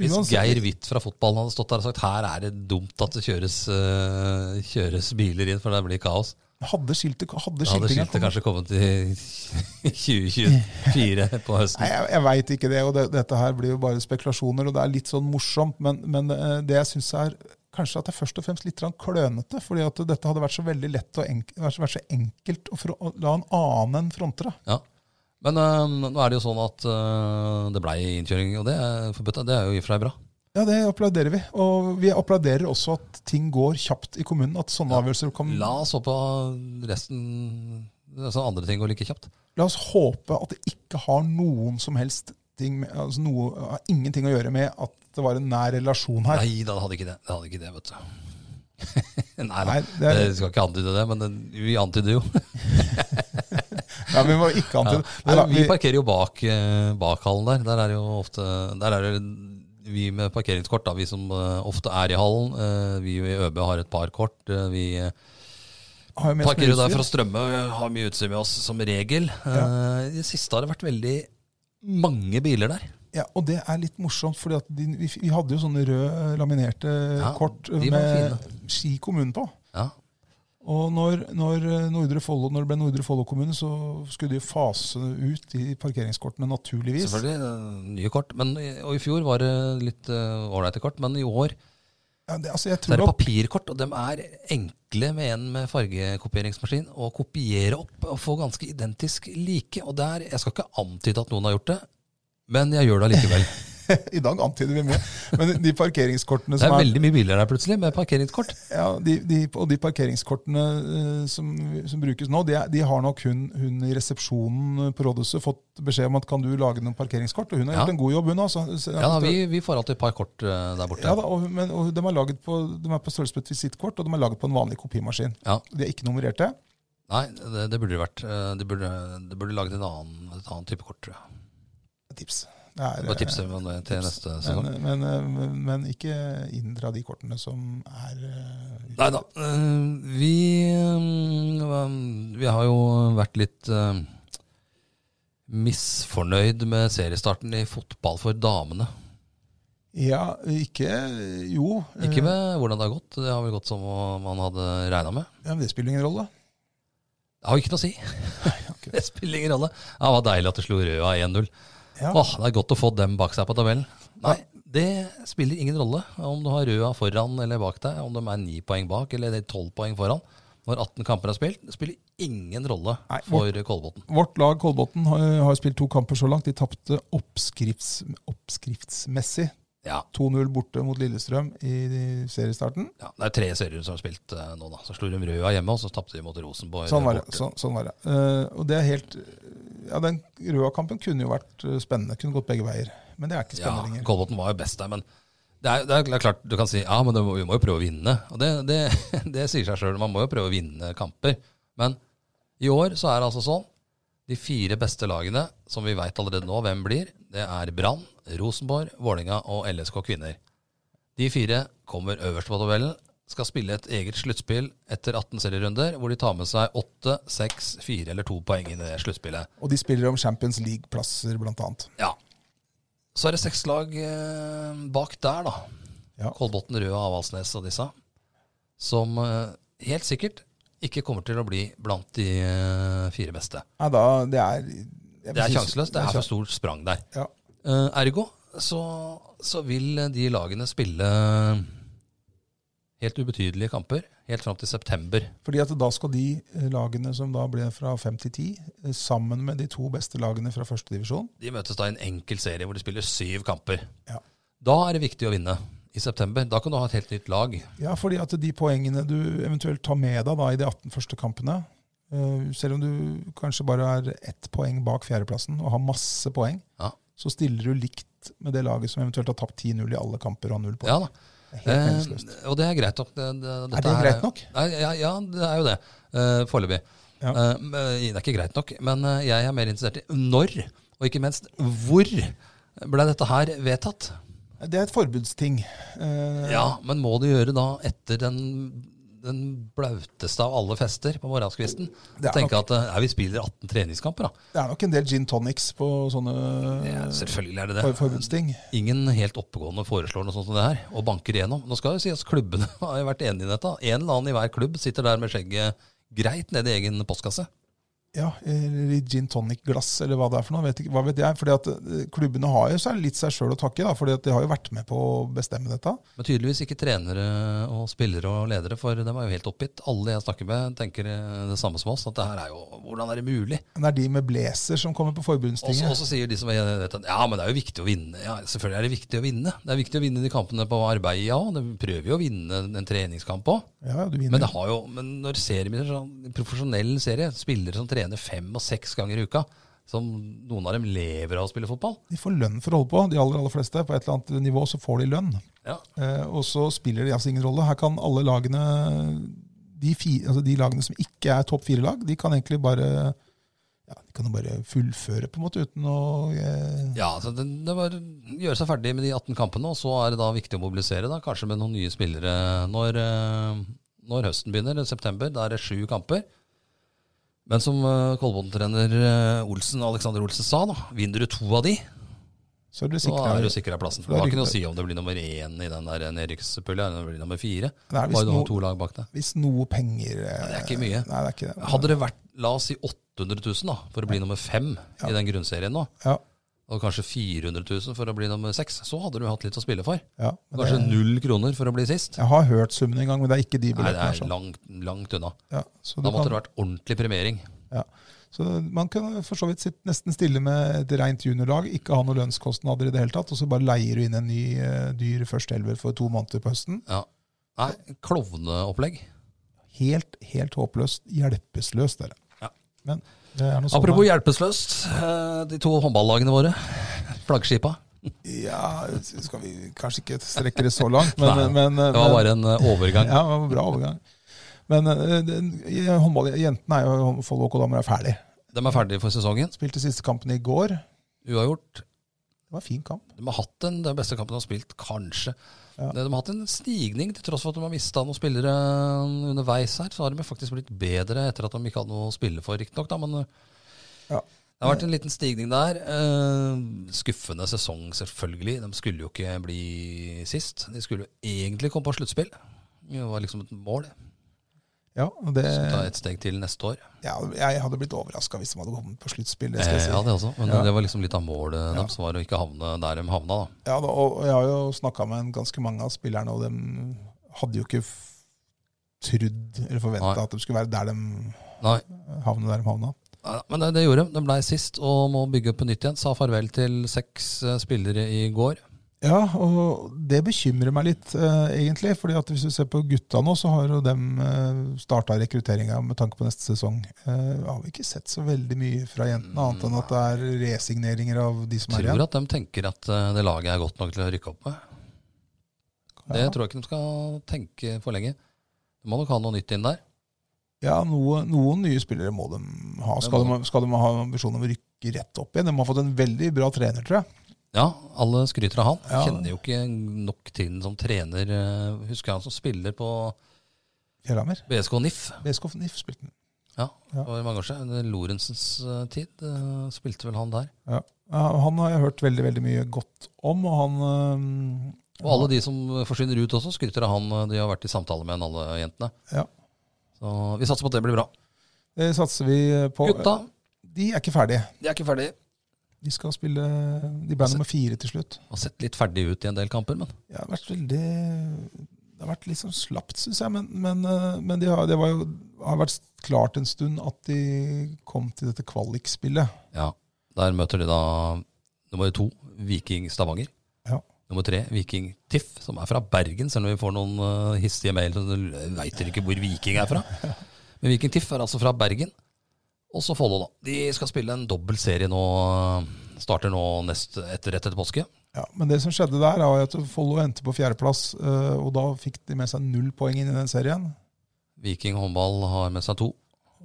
[SPEAKER 1] Hvis
[SPEAKER 2] uansett-
[SPEAKER 1] Geir Hvitt fra fotballen hadde stått der og sagt her er det dumt at det kjøres, eh, kjøres biler inn, for det blir kaos,
[SPEAKER 2] Hadde skiltet hadde
[SPEAKER 1] da hadde
[SPEAKER 2] skiltinga
[SPEAKER 1] skiltet kanskje kommet i 2024 på
[SPEAKER 2] Nei,
[SPEAKER 1] høsten.
[SPEAKER 2] jeg, jeg veit ikke det, og det, dette her blir jo bare spekulasjoner, og det er litt sånn morsomt, men, men eh, det jeg syns er kanskje at det er først og fremst litt grann klønete, fordi at dette hadde vært så veldig lett og enk, vært, så- vært så enkelt å, fro- å la en annen enn fronte det.
[SPEAKER 1] Ja. Men eh, nå er det jo sånn at eh, det blei innkjøring, og det er forbudt. Det er jo i og for seg bra.
[SPEAKER 2] Ja, det applauderer vi. Og vi applauderer også at ting går kjapt i kommunen, at sånne avgjørelser kan
[SPEAKER 1] La oss håpe resten altså andre ting går like kjapt.
[SPEAKER 2] La oss håpe at det ikke har noen som helst ting med, altså noe, har ingenting å gjøre med at det var en nær relasjon her.
[SPEAKER 1] Nei da, det hadde ikke det. Det hadde ikke det, vet du. Nei,
[SPEAKER 2] Nei,
[SPEAKER 1] da.
[SPEAKER 2] det er-
[SPEAKER 1] det skal ikke antyde det, men det, vi antyder jo.
[SPEAKER 2] Ja, vi må ikke
[SPEAKER 1] Ja.
[SPEAKER 2] antyde
[SPEAKER 1] Nei,
[SPEAKER 2] Men da,
[SPEAKER 1] vi
[SPEAKER 2] vi-
[SPEAKER 1] parkerer jo bak, eh, bak hallen der. Der er jo ofte Der er det vi med parkeringskort, da, vi som eh, ofte er i hallen. Eh, Vi i ØB har et par kort. Eh, Vi eh,
[SPEAKER 2] har jo mest
[SPEAKER 1] parkerer jo der
[SPEAKER 2] utstyr.
[SPEAKER 1] for å strømme og har mye utstyr med oss som regel. Eh, I det siste har det vært veldig mange biler der.
[SPEAKER 2] Ja, og det er litt morsomt, fordi at de, vi, vi hadde jo sånne røde laminerte
[SPEAKER 1] Ja,
[SPEAKER 2] kort
[SPEAKER 1] de var
[SPEAKER 2] med Ski kommune på.
[SPEAKER 1] Ja,
[SPEAKER 2] Og når, når, eh, Nordre Follo, når det ble Nordre Follo kommune, så skulle de jo fase ut de parkeringskortene, naturligvis.
[SPEAKER 1] selvfølgelig. eh, Nye kort. Men, i- og i fjor var det litt eh, ålreite kort, men i år
[SPEAKER 2] Ja, det, altså, jeg
[SPEAKER 1] så
[SPEAKER 2] tror
[SPEAKER 1] er det
[SPEAKER 2] nok-
[SPEAKER 1] papirkort, og de er enkle med en med fargekopieringsmaskin å kopiere opp og få ganske identisk like. Og der, Jeg skal ikke antyde at noen har gjort det, men jeg gjør det allikevel.
[SPEAKER 2] I dag antyder vi mye. Men de parkeringskortene
[SPEAKER 1] Det
[SPEAKER 2] som
[SPEAKER 1] er
[SPEAKER 2] er,
[SPEAKER 1] veldig mye biler der plutselig, med parkeringskort.
[SPEAKER 2] ja, de, de, og de parkeringskortene eh, som, som brukes nå, de, er- de har nok hun, hun i resepsjonen på rådhuset fått beskjed om at kan du lage noen parkeringskort? Og hun har
[SPEAKER 1] Ja.
[SPEAKER 2] gjort en god jobb, hun. Altså. Så-
[SPEAKER 1] Ja, da, vi, vi får alltid et par kort eh, der borte.
[SPEAKER 2] Ja, da, og, men, og de, er laget på, de er på størrelse på et visittkort, og de er laget på en vanlig kopimaskin.
[SPEAKER 1] Ja.
[SPEAKER 2] De er ikke nummererte.
[SPEAKER 1] Nei, det, det burde det vært. Eh, De burde, de burde laget en annen, et annet type kort, tror jeg.
[SPEAKER 2] Tips. Det er,
[SPEAKER 1] Bare tipse om det til neste sesong.
[SPEAKER 2] men, men, eh, men, men ikke inndra de kortene som er eh,
[SPEAKER 1] Nei da. Vi, eh, vi har jo vært litt eh, misfornøyd med seriestarten i fotball for damene.
[SPEAKER 2] Ja, ikke Jo. eh,
[SPEAKER 1] Ikke med hvordan det har gått, det har vel gått som man hadde regna med.
[SPEAKER 2] Ja, men det spiller ingen rolle.
[SPEAKER 1] Det har jo ikke noe å si.
[SPEAKER 2] akkurat.
[SPEAKER 1] Det spiller ingen rolle. Ja, det var deilig at det slo Røa 1-0.
[SPEAKER 2] Ja.
[SPEAKER 1] Åh, det er godt å få dem bak seg på tabellen. Nei, det spiller ingen rolle om du har Røa foran eller bak deg, om de er ni poeng bak eller de er tolv poeng foran. Når 18 kamper er spilt, det spiller ingen rolle
[SPEAKER 2] Nei,
[SPEAKER 1] for Kolbotn.
[SPEAKER 2] Vårt lag, Kolbotn, har, har spilt to kamper så langt. De tapte oppskrifts, oppskriftsmessig
[SPEAKER 1] Ja,
[SPEAKER 2] 2-0 borte mot Lillestrøm i seriestarten.
[SPEAKER 1] ja, det er tre serier som har spilt eh, nå, da. Så slo de Røa hjemme, og så tapte de mot Rosenborg.
[SPEAKER 2] Sånn var det.
[SPEAKER 1] borte.
[SPEAKER 2] Sånn, sånn var det. Eh, og det er helt Ja, den Røa-kampen kunne jo vært eh, spennende. Kunne gått begge veier. Men det er ikke
[SPEAKER 1] Ja,
[SPEAKER 2] spennende lenger.
[SPEAKER 1] Kolbotn var jo best der, men det er, det er klart du kan si ja, men det må, vi må jo prøve å vinne. Og det, det, det sier seg sjøl, man må jo prøve å vinne kamper. Men i år så er det altså sånn de fire beste lagene, som vi veit allerede nå hvem blir, det er Brann, Rosenborg, Vålinga og LSK Kvinner. De fire kommer øverst på tabellen, skal spille et eget sluttspill etter 18 serierunder, hvor de tar med seg 8, 6, 4 eller 2 poeng i det sluttspillet.
[SPEAKER 2] Og de spiller om Champions League-plasser, blant annet.
[SPEAKER 1] Ja. Så er det seks lag eh, bak der, da.
[SPEAKER 2] Ja.
[SPEAKER 1] Kolbotn, Røa, Avaldsnes og disse. Som eh, helt sikkert ikke kommer til å bli blant de eh, fire beste.
[SPEAKER 2] Nei, da, det er jeg
[SPEAKER 1] Det er
[SPEAKER 2] synes-
[SPEAKER 1] sjanseløst. Det er for
[SPEAKER 2] kjan-
[SPEAKER 1] stort sprang der.
[SPEAKER 2] Ja.
[SPEAKER 1] Eh, ergo så, så vil de lagene spille eh, helt ubetydelige kamper helt fram til september.
[SPEAKER 2] Fordi at da skal de eh, lagene som da ble fra fem til ti, eh, sammen med de to beste lagene fra førstedivisjon
[SPEAKER 1] De møtes da i en enkel serie hvor de spiller syv kamper.
[SPEAKER 2] Ja.
[SPEAKER 1] Da er det viktig å vinne i september. Da kan du ha et helt nytt lag.
[SPEAKER 2] Ja, fordi at de poengene du eventuelt tar med deg da i de 18 første kampene, eh, selv om du kanskje bare er ett poeng bak fjerdeplassen og har masse poeng,
[SPEAKER 1] Ja.
[SPEAKER 2] så stiller du likt med det laget som eventuelt har tapt 10-0 i alle kamper og har null poeng.
[SPEAKER 1] Ja da.
[SPEAKER 2] Det er helt meningsløst.
[SPEAKER 1] Eh, og det er greit nok. Det, det,
[SPEAKER 2] Er det greit nok?
[SPEAKER 1] Nei, ja, ja, det er jo det. Eh, Foreløpig.
[SPEAKER 2] Ja.
[SPEAKER 1] Eh, men det er ikke greit nok, men eh, jeg er mer interessert i når, og ikke minst hvor, ble dette her vedtatt?
[SPEAKER 2] Det er et forbudsting. Eh,
[SPEAKER 1] Ja, men må du gjøre da etter den, den blauteste av alle fester på morgenskvisten?
[SPEAKER 2] Det er
[SPEAKER 1] Tenke at eh, ja, vi spiller 18 treningskamper, da.
[SPEAKER 2] Det er nok en del gin tonics på sånne
[SPEAKER 1] Ja, selvfølgelig er det
[SPEAKER 2] for
[SPEAKER 1] det.
[SPEAKER 2] forbudsting.
[SPEAKER 1] Ingen helt oppegående foreslår noe sånt som det her, og banker igjennom. Nå skal det sies klubbene har jo vært enige i dette. En eller annen i hver klubb sitter der med skjegget greit ned i egen postkasse.
[SPEAKER 2] Ja, eller i gin tonic-glass, eller hva det er for noe. Vet ikke, hva vet jeg. Fordi at eh, Klubbene har jo seg litt seg sjøl å takke, da, fordi at de har jo vært med på å bestemme dette.
[SPEAKER 1] Men tydeligvis ikke trenere og spillere og ledere, for dem er jo helt oppgitt. Alle jeg snakker med, tenker eh, det samme som oss, at det her er jo Hvordan er det mulig?
[SPEAKER 2] Men det er de med blazer som kommer på
[SPEAKER 1] Og så
[SPEAKER 2] forbundstinget.
[SPEAKER 1] og så sier de som er vet at ja, men det er jo viktig å vinne. Ja, selvfølgelig er det viktig å vinne. Det er viktig å vinne de kampene på arbeid, ja. De prøver jo å vinne en treningskamp òg.
[SPEAKER 2] Ja, du
[SPEAKER 1] Men,
[SPEAKER 2] vinner.
[SPEAKER 1] det har jo, men når serien blir sånn en profesjonell serie, spillere som trener fem og seks ganger i uka, som noen av dem lever av å spille fotball
[SPEAKER 2] De får lønn for å holde på, de aller aller fleste. På et eller annet nivå så får de lønn.
[SPEAKER 1] ja.
[SPEAKER 2] Eh, og så spiller de altså ingen rolle. Her kan alle lagene De, fi, altså de lagene som ikke er topp fire-lag, de kan egentlig bare ja, de kan jo bare fullføre, på en måte, uten å eh,
[SPEAKER 1] Ja, så det, det var gjøre seg ferdig med de 18 kampene, og så er det da viktig å mobilisere, da, kanskje med noen nye spillere når, eh, når høsten begynner, i september. Da er det sju kamper. Men som eh, Kolbotn-trener eh, Olsen, Alexander Olsen sa, da, vinner du to av de,
[SPEAKER 2] Så er det
[SPEAKER 1] så er du
[SPEAKER 2] sikkert
[SPEAKER 1] sikra plassen. Det
[SPEAKER 2] Da er
[SPEAKER 1] har
[SPEAKER 2] det-
[SPEAKER 1] ikke noe å si om det blir nummer én i den der nedrykkspulja, eller om det blir nummer fire.
[SPEAKER 2] Det er visst
[SPEAKER 1] Bare du
[SPEAKER 2] noe-
[SPEAKER 1] har to lag bak deg.
[SPEAKER 2] Hvis noe penger eh,
[SPEAKER 1] Det er ikke mye.
[SPEAKER 2] Nei, det er ikke det.
[SPEAKER 1] Hadde det vært, la oss si 800 000 da, for å bli nummer fem i den grunnserien nå,
[SPEAKER 2] Ja,
[SPEAKER 1] og kanskje 400 000 for å bli nummer seks, så hadde du hatt litt å spille for.
[SPEAKER 2] ja, men
[SPEAKER 1] Kanskje
[SPEAKER 2] det,
[SPEAKER 1] null kroner for å bli sist.
[SPEAKER 2] jeg har hørt summen en gang, men det er ikke
[SPEAKER 1] Nei,
[SPEAKER 2] de
[SPEAKER 1] det
[SPEAKER 2] billettene. her,
[SPEAKER 1] er
[SPEAKER 2] sånn.
[SPEAKER 1] langt, langt unna.
[SPEAKER 2] Ja, så du
[SPEAKER 1] Da måtte
[SPEAKER 2] kan-
[SPEAKER 1] det vært ordentlig premiering.
[SPEAKER 2] Ja. Så man kan for så vidt sitte nesten stille med et rent juniorlag, ikke ha noen lønnskostnader i det hele tatt, og så bare leier du inn en ny eh, dyr førsteelver for to måneder på høsten.
[SPEAKER 1] Ja. Nei, klovneopplegg.
[SPEAKER 2] Helt, helt håpløst, hjelpeløst er det.
[SPEAKER 1] Ja.
[SPEAKER 2] Men det er noe sånn
[SPEAKER 1] Apropos
[SPEAKER 2] da.
[SPEAKER 1] hjelpeløst, eh, de to håndballagene våre, flaggskipa.
[SPEAKER 2] Ja, skal vi kanskje ikke strekke det så langt, men,
[SPEAKER 1] Nei,
[SPEAKER 2] men
[SPEAKER 1] Det var bare en eh, overgang.
[SPEAKER 2] Ja, det var bra overgang. Men eh, den- i håndball, jentene er jo Follo HK damer er ferdig.
[SPEAKER 1] De er ferdige for sesongen.
[SPEAKER 2] Spilte siste kampen i går.
[SPEAKER 1] Uavgjort.
[SPEAKER 2] Det var en fin kamp.
[SPEAKER 1] De har hatt en, den beste kampen de har spilt, kanskje.
[SPEAKER 2] Ja.
[SPEAKER 1] De har hatt en stigning, til tross for at de har mista noen spillere underveis her. Så har de faktisk blitt bedre etter at de ikke hadde noe å spille for, riktignok. da, Men eh,
[SPEAKER 2] Ja.
[SPEAKER 1] det har vært en liten stigning der. Eh, Skuffende sesong, selvfølgelig. De skulle jo ikke bli sist. De skulle jo egentlig komme på sluttspill. Det var liksom et mål.
[SPEAKER 2] Ja, og det,
[SPEAKER 1] Så ta et steg til neste år.
[SPEAKER 2] ja, jeg hadde blitt overraska hvis de hadde kommet på sluttspill. Det
[SPEAKER 1] Eh,
[SPEAKER 2] skal jeg si.
[SPEAKER 1] Ja, det også. Men
[SPEAKER 2] Ja.
[SPEAKER 1] det var liksom litt av målet deres var å ikke havne der de havna, da.
[SPEAKER 2] Ja, da, og og jeg har jo snakka med en ganske mange av spillerne, og de hadde jo ikke f- trudd eller
[SPEAKER 1] Nei.
[SPEAKER 2] forventa at de skulle være der de
[SPEAKER 1] Nei.
[SPEAKER 2] havna der de havna.
[SPEAKER 1] Ja, Men det, det gjorde de. De blei sist og må bygge opp på nytt igjen. Sa farvel til seks eh, spillere i går.
[SPEAKER 2] Ja, og det bekymrer meg litt, eh, egentlig. fordi at hvis du ser på gutta nå, så har jo dem eh, starta rekrutteringa med tanke på neste sesong. Eh, har vi ikke sett så veldig mye fra jentene, annet enn at det er resigneringer av de som er
[SPEAKER 1] Tror
[SPEAKER 2] igjen.
[SPEAKER 1] at de tenker at eh, det laget er godt nok til å rykke opp med. Det
[SPEAKER 2] Ja.
[SPEAKER 1] tror jeg ikke de skal tenke for lenge. De må nok ha noe nytt inn der.
[SPEAKER 2] Ja, noe, noen nye spillere må de ha. Skal de, skal de ha ambisjon om å rykke rett opp igjen? De har fått en veldig bra trener, tror jeg.
[SPEAKER 1] Ja, alle skryter av han.
[SPEAKER 2] Ja.
[SPEAKER 1] Kjenner jo ikke nok til den som trener. eh, Husker jeg han som spiller på
[SPEAKER 2] Fjellhammer.
[SPEAKER 1] BSK NIF.
[SPEAKER 2] BSK NIF spilte den.
[SPEAKER 1] Ja,
[SPEAKER 2] Ja.
[SPEAKER 1] det var mange år siden. Under Lorentzens eh, tid eh, spilte vel han der.
[SPEAKER 2] Ja. Ja, Han har jeg hørt veldig veldig mye godt om, og han eh, øhm,
[SPEAKER 1] Og alle de som forsvinner ut også, skryter av han. eh, De har vært i samtale med han, alle jentene.
[SPEAKER 2] Ja.
[SPEAKER 1] Så vi satser på at det blir bra.
[SPEAKER 2] Det eh, satser vi på.
[SPEAKER 1] Gutta,
[SPEAKER 2] De er ikke ferdige.
[SPEAKER 1] de er ikke ferdige.
[SPEAKER 2] De skal spille eh, De ble
[SPEAKER 1] Altså-
[SPEAKER 2] nummer fire til slutt.
[SPEAKER 1] Har sett litt ferdig ut i en del kamper, men
[SPEAKER 2] Det har vært veldig Det har vært litt sånn slapt, syns jeg. Men, men, øh, men de har, det var jo, har vært klart en stund at de kom til dette kvalikspillet.
[SPEAKER 1] ja. Der møter de da nummer to, Viking Stavanger.
[SPEAKER 2] Ja.
[SPEAKER 1] Nummer tre, Viking Tiff, som er fra Bergen, selv om vi får noen eh, hissige mail som veit dere ikke hvor Viking er fra. Men Viking Tiff er altså fra Bergen. Og så Follo, da. De skal spille en dobbel serie nå. eh, Starter nå nest, etter, rett etter påske.
[SPEAKER 2] Ja, men det som skjedde der, var jo at Follo endte på fjerdeplass, øh, og da fikk de med seg null poeng inn i den serien,
[SPEAKER 1] Viking håndball har med seg to.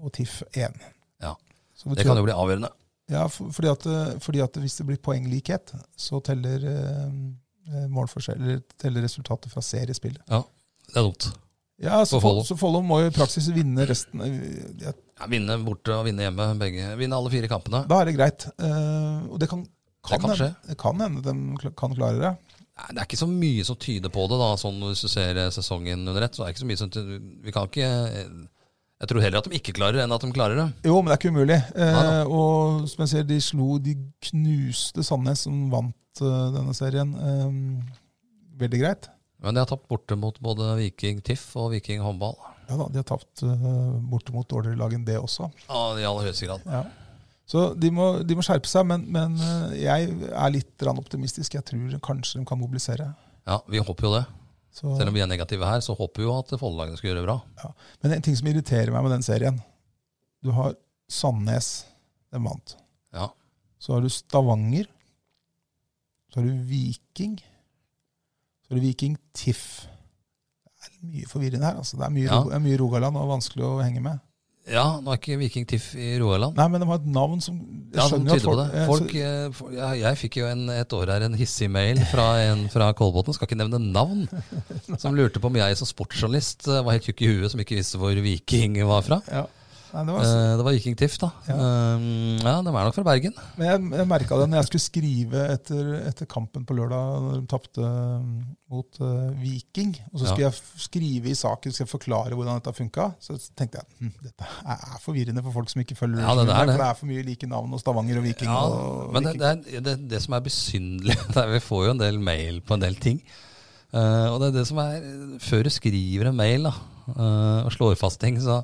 [SPEAKER 2] og TIFF én.
[SPEAKER 1] Ja.
[SPEAKER 2] Så
[SPEAKER 1] Det
[SPEAKER 2] betyr-
[SPEAKER 1] kan jo bli avgjørende.
[SPEAKER 2] Ja, for, fordi, at, eh, fordi at hvis det blir poenglikhet, så teller eh, eh, målforskjell, eller teller resultatet fra seriespillet.
[SPEAKER 1] Det er dumt.
[SPEAKER 2] Ja, så
[SPEAKER 1] For Follo.
[SPEAKER 2] Follo så Follo må jo i praksis vinne resten. eh, Ja,
[SPEAKER 1] Ja, vinne borte og vinne hjemme. Begge. Vinne alle fire kampene.
[SPEAKER 2] da er det greit. Eh, og det kan, kan,
[SPEAKER 1] kan
[SPEAKER 2] hende- det kan hende de kl- kan klare det.
[SPEAKER 1] Nei, Det er ikke så mye som tyder på det, da. Sånn hvis du ser eh, sesongen under ett. Så er det ikke så mye som tyder. Vi kan ikke eh, Jeg tror heller at de ikke klarer det, enn at de klarer det.
[SPEAKER 2] Jo, men det er ikke umulig. Eh,
[SPEAKER 1] Nei
[SPEAKER 2] og som jeg sier, de slo De knuste Sandnes, som vant eh, denne serien. Eh, veldig greit.
[SPEAKER 1] Men de har tapt borte mot både Viking TIFF og Viking håndball.
[SPEAKER 2] Ja da, de har tapt eh, bortimot dårligere lag enn det også.
[SPEAKER 1] Ja, I aller høyeste grad.
[SPEAKER 2] Ja. Så de må, de må skjerpe seg, men, men eh, jeg er litt grann optimistisk. Jeg tror kanskje de kan mobilisere.
[SPEAKER 1] Ja, vi håper jo det.
[SPEAKER 2] Så,
[SPEAKER 1] Selv om vi er negative her, så håper vi jo at Follo-lagene skal gjøre det bra.
[SPEAKER 2] men en ting som irriterer meg med den serien Du har Sandnes, den vant.
[SPEAKER 1] Ja.
[SPEAKER 2] Så har du Stavanger. Så har du Viking. Så har du Viking TIFF. Det er mye forvirrende her. altså. Det er mye,
[SPEAKER 1] Ja.
[SPEAKER 2] Ro- det er mye Rogaland og vanskelig å henge med.
[SPEAKER 1] Ja, nå er ikke Viking TIFF i Rogaland.
[SPEAKER 2] Nei, men de har et navn som jeg
[SPEAKER 1] Ja, som
[SPEAKER 2] skjønner at
[SPEAKER 1] tyder på det.
[SPEAKER 2] eh, så-
[SPEAKER 1] Folk, eh, for- ja, jeg fikk jo en, et år her en hissig mail fra en fra Kolbotn, skal ikke nevne navn, som lurte på om jeg som sportsjournalist eh, var helt tjukk i huet som ikke visste hvor Viking var fra.
[SPEAKER 2] ja. Nei, det var
[SPEAKER 1] Eh, Det var Viking Tiff, da.
[SPEAKER 2] Altså. Ja.
[SPEAKER 1] Eh, Ja, de er nok fra Bergen.
[SPEAKER 2] Men jeg, jeg merka det når jeg skulle skrive etter, etter kampen på lørdag, når de tapte um, mot eh, Viking. Og så skulle jeg f- skrive i saken skal jeg forklare hvordan dette funka. Så tenkte jeg hm, dette er er forvirrende for folk som ikke følger
[SPEAKER 1] Ja, det
[SPEAKER 2] med,
[SPEAKER 1] er det.
[SPEAKER 2] For det er for mye like navn og Stavanger og Viking. og
[SPEAKER 1] men det,
[SPEAKER 2] Viking.
[SPEAKER 1] det, er, det, det som er besynderlig det er, Vi får jo en del mail på en del ting. Eh, og det er det som er Før du skriver en mail da, eh, og slår fast ting, så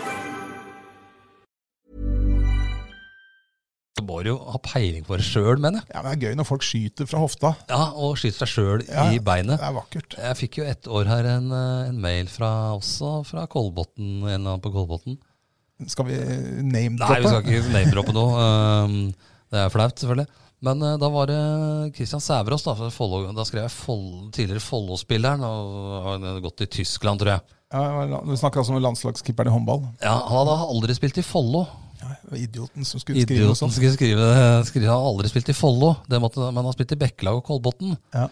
[SPEAKER 1] Det må må du jo ha peiling på det sjøl, mener jeg.
[SPEAKER 2] Ja, men Det er gøy når folk skyter fra hofta.
[SPEAKER 1] Ja, Og skyte seg sjøl
[SPEAKER 2] Ja,
[SPEAKER 1] i beinet.
[SPEAKER 2] Det er vakkert.
[SPEAKER 1] Jeg fikk jo ett år her en, eh, en mail fra også fra Kolbotn, en eller annen på Kolbotn.
[SPEAKER 2] Skal vi
[SPEAKER 1] Nei, vi skal
[SPEAKER 2] name-droppe?
[SPEAKER 1] ikke name-droppe nå. ehm, Det er flaut, selvfølgelig. Men eh, da var det Christian Sæverås. Da, fra Follo- da skrev jeg Follo- tidligere Follo-spilleren. Og han hadde gått i Tyskland, tror jeg.
[SPEAKER 2] Ja, du snakker altså om landslagskeeperen i håndball.
[SPEAKER 1] Ja, Han hadde aldri spilt i Follo.
[SPEAKER 2] Ja, det var idioten som skulle skrive sånn. noe
[SPEAKER 1] Idioten
[SPEAKER 2] sånt.
[SPEAKER 1] skulle skrive, skrive Han hadde aldri spilt i Follo, det måtte- men han har spilt i Bekkelag og Kolbotn.
[SPEAKER 2] Ja.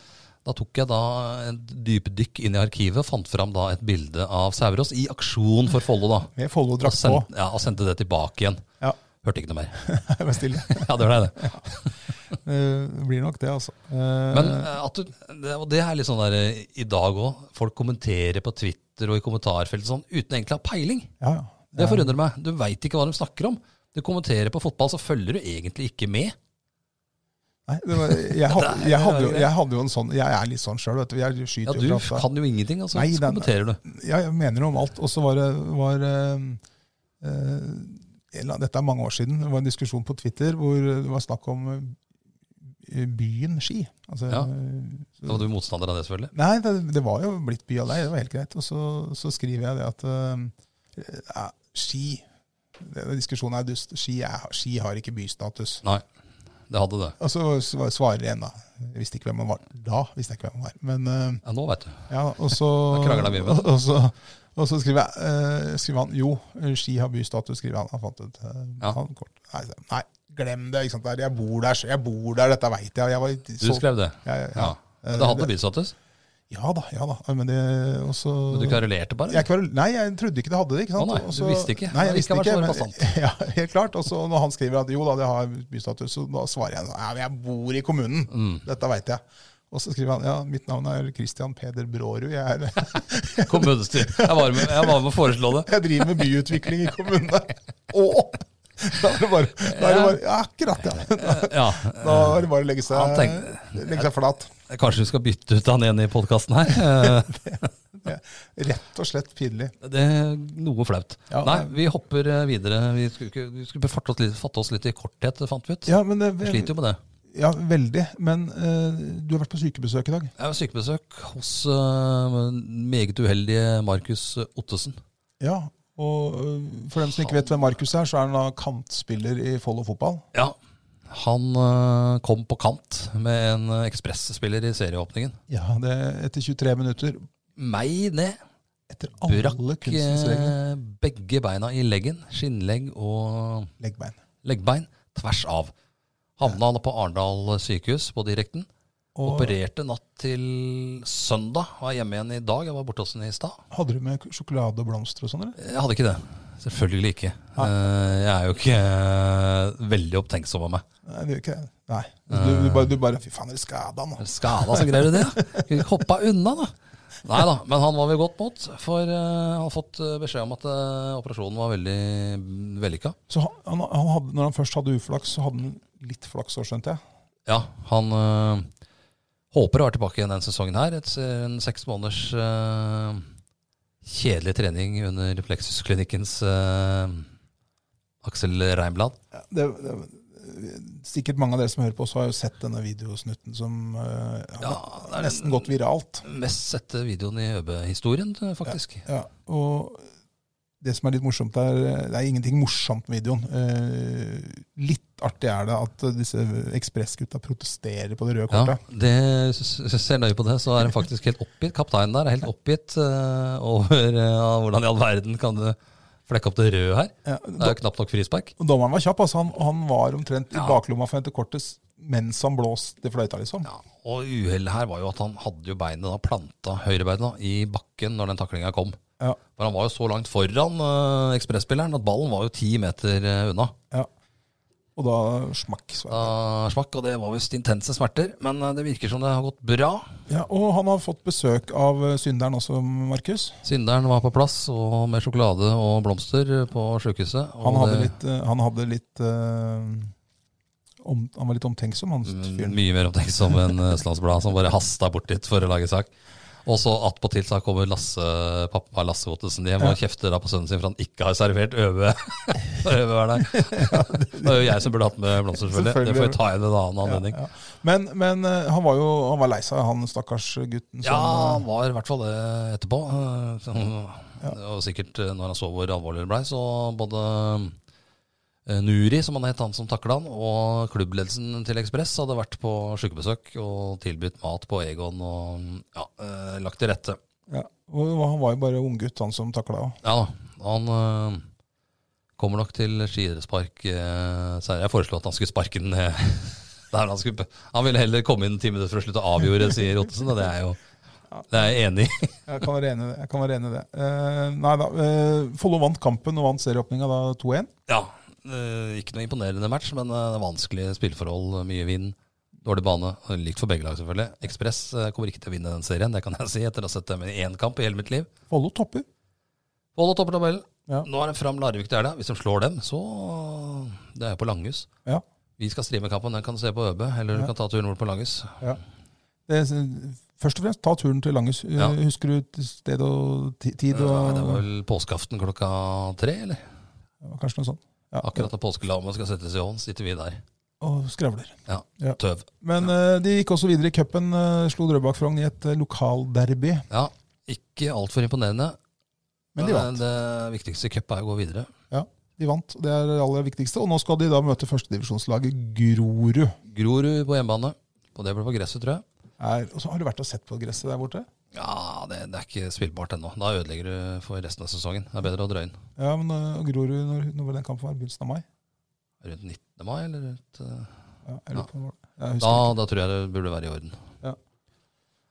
[SPEAKER 1] Da tok jeg da en dypdykk inn i arkivet og fant fram da et bilde av Sæverås i aksjon for Follo. da.
[SPEAKER 2] Med Follo-drakt
[SPEAKER 1] Og,
[SPEAKER 2] på.
[SPEAKER 1] sendte- ja, og sendte det tilbake igjen.
[SPEAKER 2] Ja,
[SPEAKER 1] Hørte ikke noe mer.
[SPEAKER 2] jeg var stille.
[SPEAKER 1] Ja, det var det.
[SPEAKER 2] Eh, Det blir nok det, altså. Eh,
[SPEAKER 1] Men eh, at du, det, og det er litt sånn der eh, i dag òg. Folk kommenterer på Twitter og i kommentarfeltet sånn uten egentlig å ha peiling.
[SPEAKER 2] ja, ja.
[SPEAKER 1] Det forundrer meg. Du veit ikke hva de snakker om. Du kommenterer på fotball, så følger du egentlig ikke med.
[SPEAKER 2] Nei, det var, jeg, hadde, jeg, hadde jo, jeg hadde jo en sånn Jeg er litt sånn sjøl, vet du. Jeg
[SPEAKER 1] Ja,
[SPEAKER 2] skyter
[SPEAKER 1] Du
[SPEAKER 2] jo fra
[SPEAKER 1] kan jo ingenting, og så
[SPEAKER 2] Nei, den-
[SPEAKER 1] kommenterer du.
[SPEAKER 2] Ja, jeg mener noe om alt. Og så var det var, eh, eh, en eller annen- Dette er mange år siden. Det var en diskusjon på Twitter hvor det var snakk om eh, byen Ski. Altså,
[SPEAKER 1] Ja.
[SPEAKER 2] eh,
[SPEAKER 1] Da var du motstander av det, selvfølgelig.
[SPEAKER 2] Nei, det, det var jo blitt by av deg. Det var helt greit. Og så, så skriver jeg det at eh, ja, Ski Denne diskusjonen er dust. Ski, er, ski har ikke bystatus.
[SPEAKER 1] Nei, det hadde det.
[SPEAKER 2] Og så Altså, sva- svarer en, da. Jeg visste ikke hvem han var da. visste jeg ikke hvem han var. Men... eh,
[SPEAKER 1] Ja, nå veit du.
[SPEAKER 2] Ja, og så,
[SPEAKER 1] Da krangler vi, vet
[SPEAKER 2] og, og så, og så skriver, jeg, eh, skriver han jo, Ski har bystatus, skriver han. Han fant ut eh,
[SPEAKER 1] Ja.
[SPEAKER 2] han kort. Nei, så- nei, glem det. ikke sant? Der, jeg bor der, jeg bor der, dette veit jeg. jeg var,
[SPEAKER 1] Du
[SPEAKER 2] så,
[SPEAKER 1] skrev det.
[SPEAKER 2] Ja, Eh, ja, ja.
[SPEAKER 1] Ja. Men det hadde bystatus.
[SPEAKER 2] ja da, ja da. Men det også
[SPEAKER 1] Men du kverulerte bare.
[SPEAKER 2] jeg kvaru- nei, jeg trodde ikke det hadde det. ikke sant?
[SPEAKER 1] Å nei, du
[SPEAKER 2] Og så-
[SPEAKER 1] visste ikke.
[SPEAKER 2] Nei, jeg
[SPEAKER 1] Det
[SPEAKER 2] visste
[SPEAKER 1] har ikke
[SPEAKER 2] ikke,
[SPEAKER 1] vært
[SPEAKER 2] men,
[SPEAKER 1] så
[SPEAKER 2] ja, helt klart. Og så når han skriver at jo da, det har bystatus, så da svarer jeg at jeg bor i kommunen.
[SPEAKER 1] Mm.
[SPEAKER 2] Dette veit jeg. Og så skriver han ja, mitt navn er Christian Peder Brårud. Jeg er
[SPEAKER 1] Kommunestyret. Jeg var med jeg var med å foreslå det.
[SPEAKER 2] Jeg driver med byutvikling i kommunene. Og da er det bare, da er det bare ja, Akkurat, ja.
[SPEAKER 1] Eh, Ja,
[SPEAKER 2] Da er det bare å legge
[SPEAKER 1] Han
[SPEAKER 2] seg,
[SPEAKER 1] tenkte-
[SPEAKER 2] legge seg flat.
[SPEAKER 1] Kanskje du skal bytte ut han ene i podkasten her. Eh,
[SPEAKER 2] Rett og slett pinlig.
[SPEAKER 1] Det er noe flaut.
[SPEAKER 2] Ja.
[SPEAKER 1] Nei, vi hopper eh, videre. Vi skulle, ikke- vi skulle fatte, oss litt, fatte oss litt i korthet, det fant vi ut.
[SPEAKER 2] Ja, men, eh,
[SPEAKER 1] Jeg sliter jo med det.
[SPEAKER 2] ja veldig. Men eh, du har vært på sykebesøk i dag.
[SPEAKER 1] Jeg har sykebesøk hos eh, meget uheldige Markus Ottesen.
[SPEAKER 2] Ja, og eh, for dem som ikke vet hvem Markus er, så er han da kantspiller i Follo fotball.
[SPEAKER 1] Ja. Han eh, kom på kant med en eh, ekspressspiller i serieåpningen.
[SPEAKER 2] Ja, det Etter 23 minutter.
[SPEAKER 1] Meg ned.
[SPEAKER 2] Etter
[SPEAKER 1] Brakk
[SPEAKER 2] alle kunstens regler.
[SPEAKER 1] eh, begge beina i leggen. Skinnlegg og
[SPEAKER 2] Leggbein.
[SPEAKER 1] leggbein tvers av. Havna på Arendal sykehus på direkten.
[SPEAKER 2] Og
[SPEAKER 1] Opererte natt til søndag. Var hjemme igjen i dag. Jeg var borte hos henne i stad.
[SPEAKER 2] hadde du med sjokolade og blomster og sånn, eller?
[SPEAKER 1] Jeg hadde ikke det. Selvfølgelig ikke. Eh, Jeg er jo ikke eh, veldig opptenksom av meg.
[SPEAKER 2] Nei, det gjør ikke det. Nei.
[SPEAKER 1] Øh.
[SPEAKER 2] Du, du, bare, du bare Fy faen, dere skada han. da.
[SPEAKER 1] Skada, så altså? greier du det. Kunne ikke hoppa unna, da. Nei da, men han var vi godt mot. For eh, han har fått eh, beskjed om at eh, operasjonen var veldig mm, vellykka.
[SPEAKER 2] Så han, han, han hadde, når han først hadde uflaks, så hadde han litt flaks òg, skjønte jeg.
[SPEAKER 1] Ja, han øh, håper å være tilbake igjen denne sesongen her. Et, eh, en seks måneders øh, kjedelig trening under Plexusklinikkens øh, Aksel Reimblad.
[SPEAKER 2] Det, det, sikkert mange av dere som hører på oss, har jo sett denne videosnutten som eh, har
[SPEAKER 1] Ja, det er
[SPEAKER 2] nesten gått viralt.
[SPEAKER 1] den mest sette videoen i ØB-historien, øh, faktisk.
[SPEAKER 2] Ja, og det som er litt morsomt er, Det er ingenting morsomt med videoen. Eh, litt artig er det at disse ekspressgutta protesterer på det røde
[SPEAKER 1] Ja,
[SPEAKER 2] kortet.
[SPEAKER 1] det, s- s- ser nøye på det, så er han faktisk helt oppgitt. Kapteinen der er helt oppgitt øh, over øh, hvordan i all verden kan du flekke opp det røde her.
[SPEAKER 2] Ja,
[SPEAKER 1] Det er jo knapt nok frispark.
[SPEAKER 2] Og Dommeren var kjapp. altså Han, han var omtrent i
[SPEAKER 1] Ja.
[SPEAKER 2] baklomma for å hente kortet s- mens han blåste i fløyta, liksom.
[SPEAKER 1] Ja, og uhellet her var jo at han hadde jo beinet da, planta høyrebeinet da, i bakken når den taklinga kom.
[SPEAKER 2] Ja.
[SPEAKER 1] For han var jo så langt foran uh, ekspresspilleren at ballen var jo ti meter eh, unna.
[SPEAKER 2] Ja. Og da smakk. Sverre.
[SPEAKER 1] Da smakk, og det var visst intense smerter, men eh, det virker som det har gått bra.
[SPEAKER 2] Ja, og han har fått besøk av eh, synderen også, Markus.
[SPEAKER 1] Synderen var på plass, og med sjokolade og blomster på sjukehuset. og
[SPEAKER 2] Han hadde
[SPEAKER 1] det-
[SPEAKER 2] litt, eh, han hadde litt eh, om,
[SPEAKER 1] Mm,
[SPEAKER 2] Han var litt omtenksom, han
[SPEAKER 1] eh,
[SPEAKER 2] fyren.
[SPEAKER 1] Mye mer omtenksom enn Østlandsbladet, som bare hasta bort dit for å lage sak. Og så attpåtil så kommer Lasse, pappa Lasse Ottesen hjem og kjefter da på sønnen sin for han ikke har servert øve. øve det er jo jeg som burde hatt med blomster, selvfølgelig. Det får vi ta igjen en annen anledning.
[SPEAKER 2] Ja, ja. Men, men eh, han var jo han var lei seg, han stakkars gutten.
[SPEAKER 1] Ja,
[SPEAKER 2] som,
[SPEAKER 1] han eh, var i hvert fall det etterpå. eh, så- Og sikkert eh, når han så hvor alvorlig det blei, så både eh, Nuri, som han het, han som takla han, og klubbledelsen til Ekspress hadde vært på sjukebesøk og tilbudt mat på Egon og ja, eh, lagt til rette.
[SPEAKER 2] eh, ja. Og han var jo bare unggutt, han som takla.
[SPEAKER 1] Ja da, han eh, kommer nok til skiidrettspark eh, senere. Jeg foreslo at han skulle sparke den ned. Der han, skulle, han ville heller komme inn ti minutter før slutt og avgjorde, sier Ottesen. Og det er jo det er jeg enig i.
[SPEAKER 2] Jeg kan være enig i det. Jeg kan være enig i det. Eh, nei da, eh, Follo vant kampen og vant serieåpninga da 2-1.
[SPEAKER 1] Ja, eh, ikke noe imponerende match, men eh, det er vanskelige spillforhold, eh, mye vind, dårlig bane. eh, Likt for begge lag, selvfølgelig. Ekspress eh, kommer ikke til å vinne den serien, det kan jeg si, etter å ha sett dem i én kamp i hele mitt liv.
[SPEAKER 2] Follo topper.
[SPEAKER 1] Follo topper tabellen.
[SPEAKER 2] Ja.
[SPEAKER 1] Nå er det fram Larvik til helga. Hvis de slår dem, så Det er jo på Langhus.
[SPEAKER 2] Ja.
[SPEAKER 1] Vi skal streame kampen, den kan du se på ØB, eller du
[SPEAKER 2] Ja.
[SPEAKER 1] kan ta turen bort på Langhus.
[SPEAKER 2] Det, er- først og fremst, ta turen til Langes. Eh,
[SPEAKER 1] Ja.
[SPEAKER 2] Husker du sted og ti- tid? Og,
[SPEAKER 1] Nei, det var vel påskeaften klokka tre, eller?
[SPEAKER 2] Ja, Kanskje noe sånt. Ja.
[SPEAKER 1] Akkurat da påskelammet skal settes i ovn, sitter vi der.
[SPEAKER 2] Og skravler.
[SPEAKER 1] Ja,
[SPEAKER 2] Ja.
[SPEAKER 1] tøv.
[SPEAKER 2] Men eh, de gikk også videre i cupen. eh, slo Drøbak Frogn i et eh, lokalderby.
[SPEAKER 1] Ja, ikke altfor imponerende. Eh,
[SPEAKER 2] Men de vant.
[SPEAKER 1] Det viktigste i cup er å gå videre.
[SPEAKER 2] De vant, og Det er det aller viktigste. Og nå skal de da møte førstedivisjonslaget Grorud.
[SPEAKER 1] Grorud på hjemmebane. Og det ble på gresset, tror jeg.
[SPEAKER 2] Er, og så Har du vært og sett på gresset der borte?
[SPEAKER 1] Ja, det, det er ikke spillbart ennå. Da ødelegger du for resten av sesongen. Det er bedre å drøye den
[SPEAKER 2] Ja, men eh, Grorud, når, når var den kampen? var? Begynnelsen av mai?
[SPEAKER 1] rundt 19. mai, eller rundt eh,
[SPEAKER 2] Ja, jeg lurer på når det var. Jeg husker
[SPEAKER 1] da,
[SPEAKER 2] ikke.
[SPEAKER 1] da tror jeg det burde være i orden.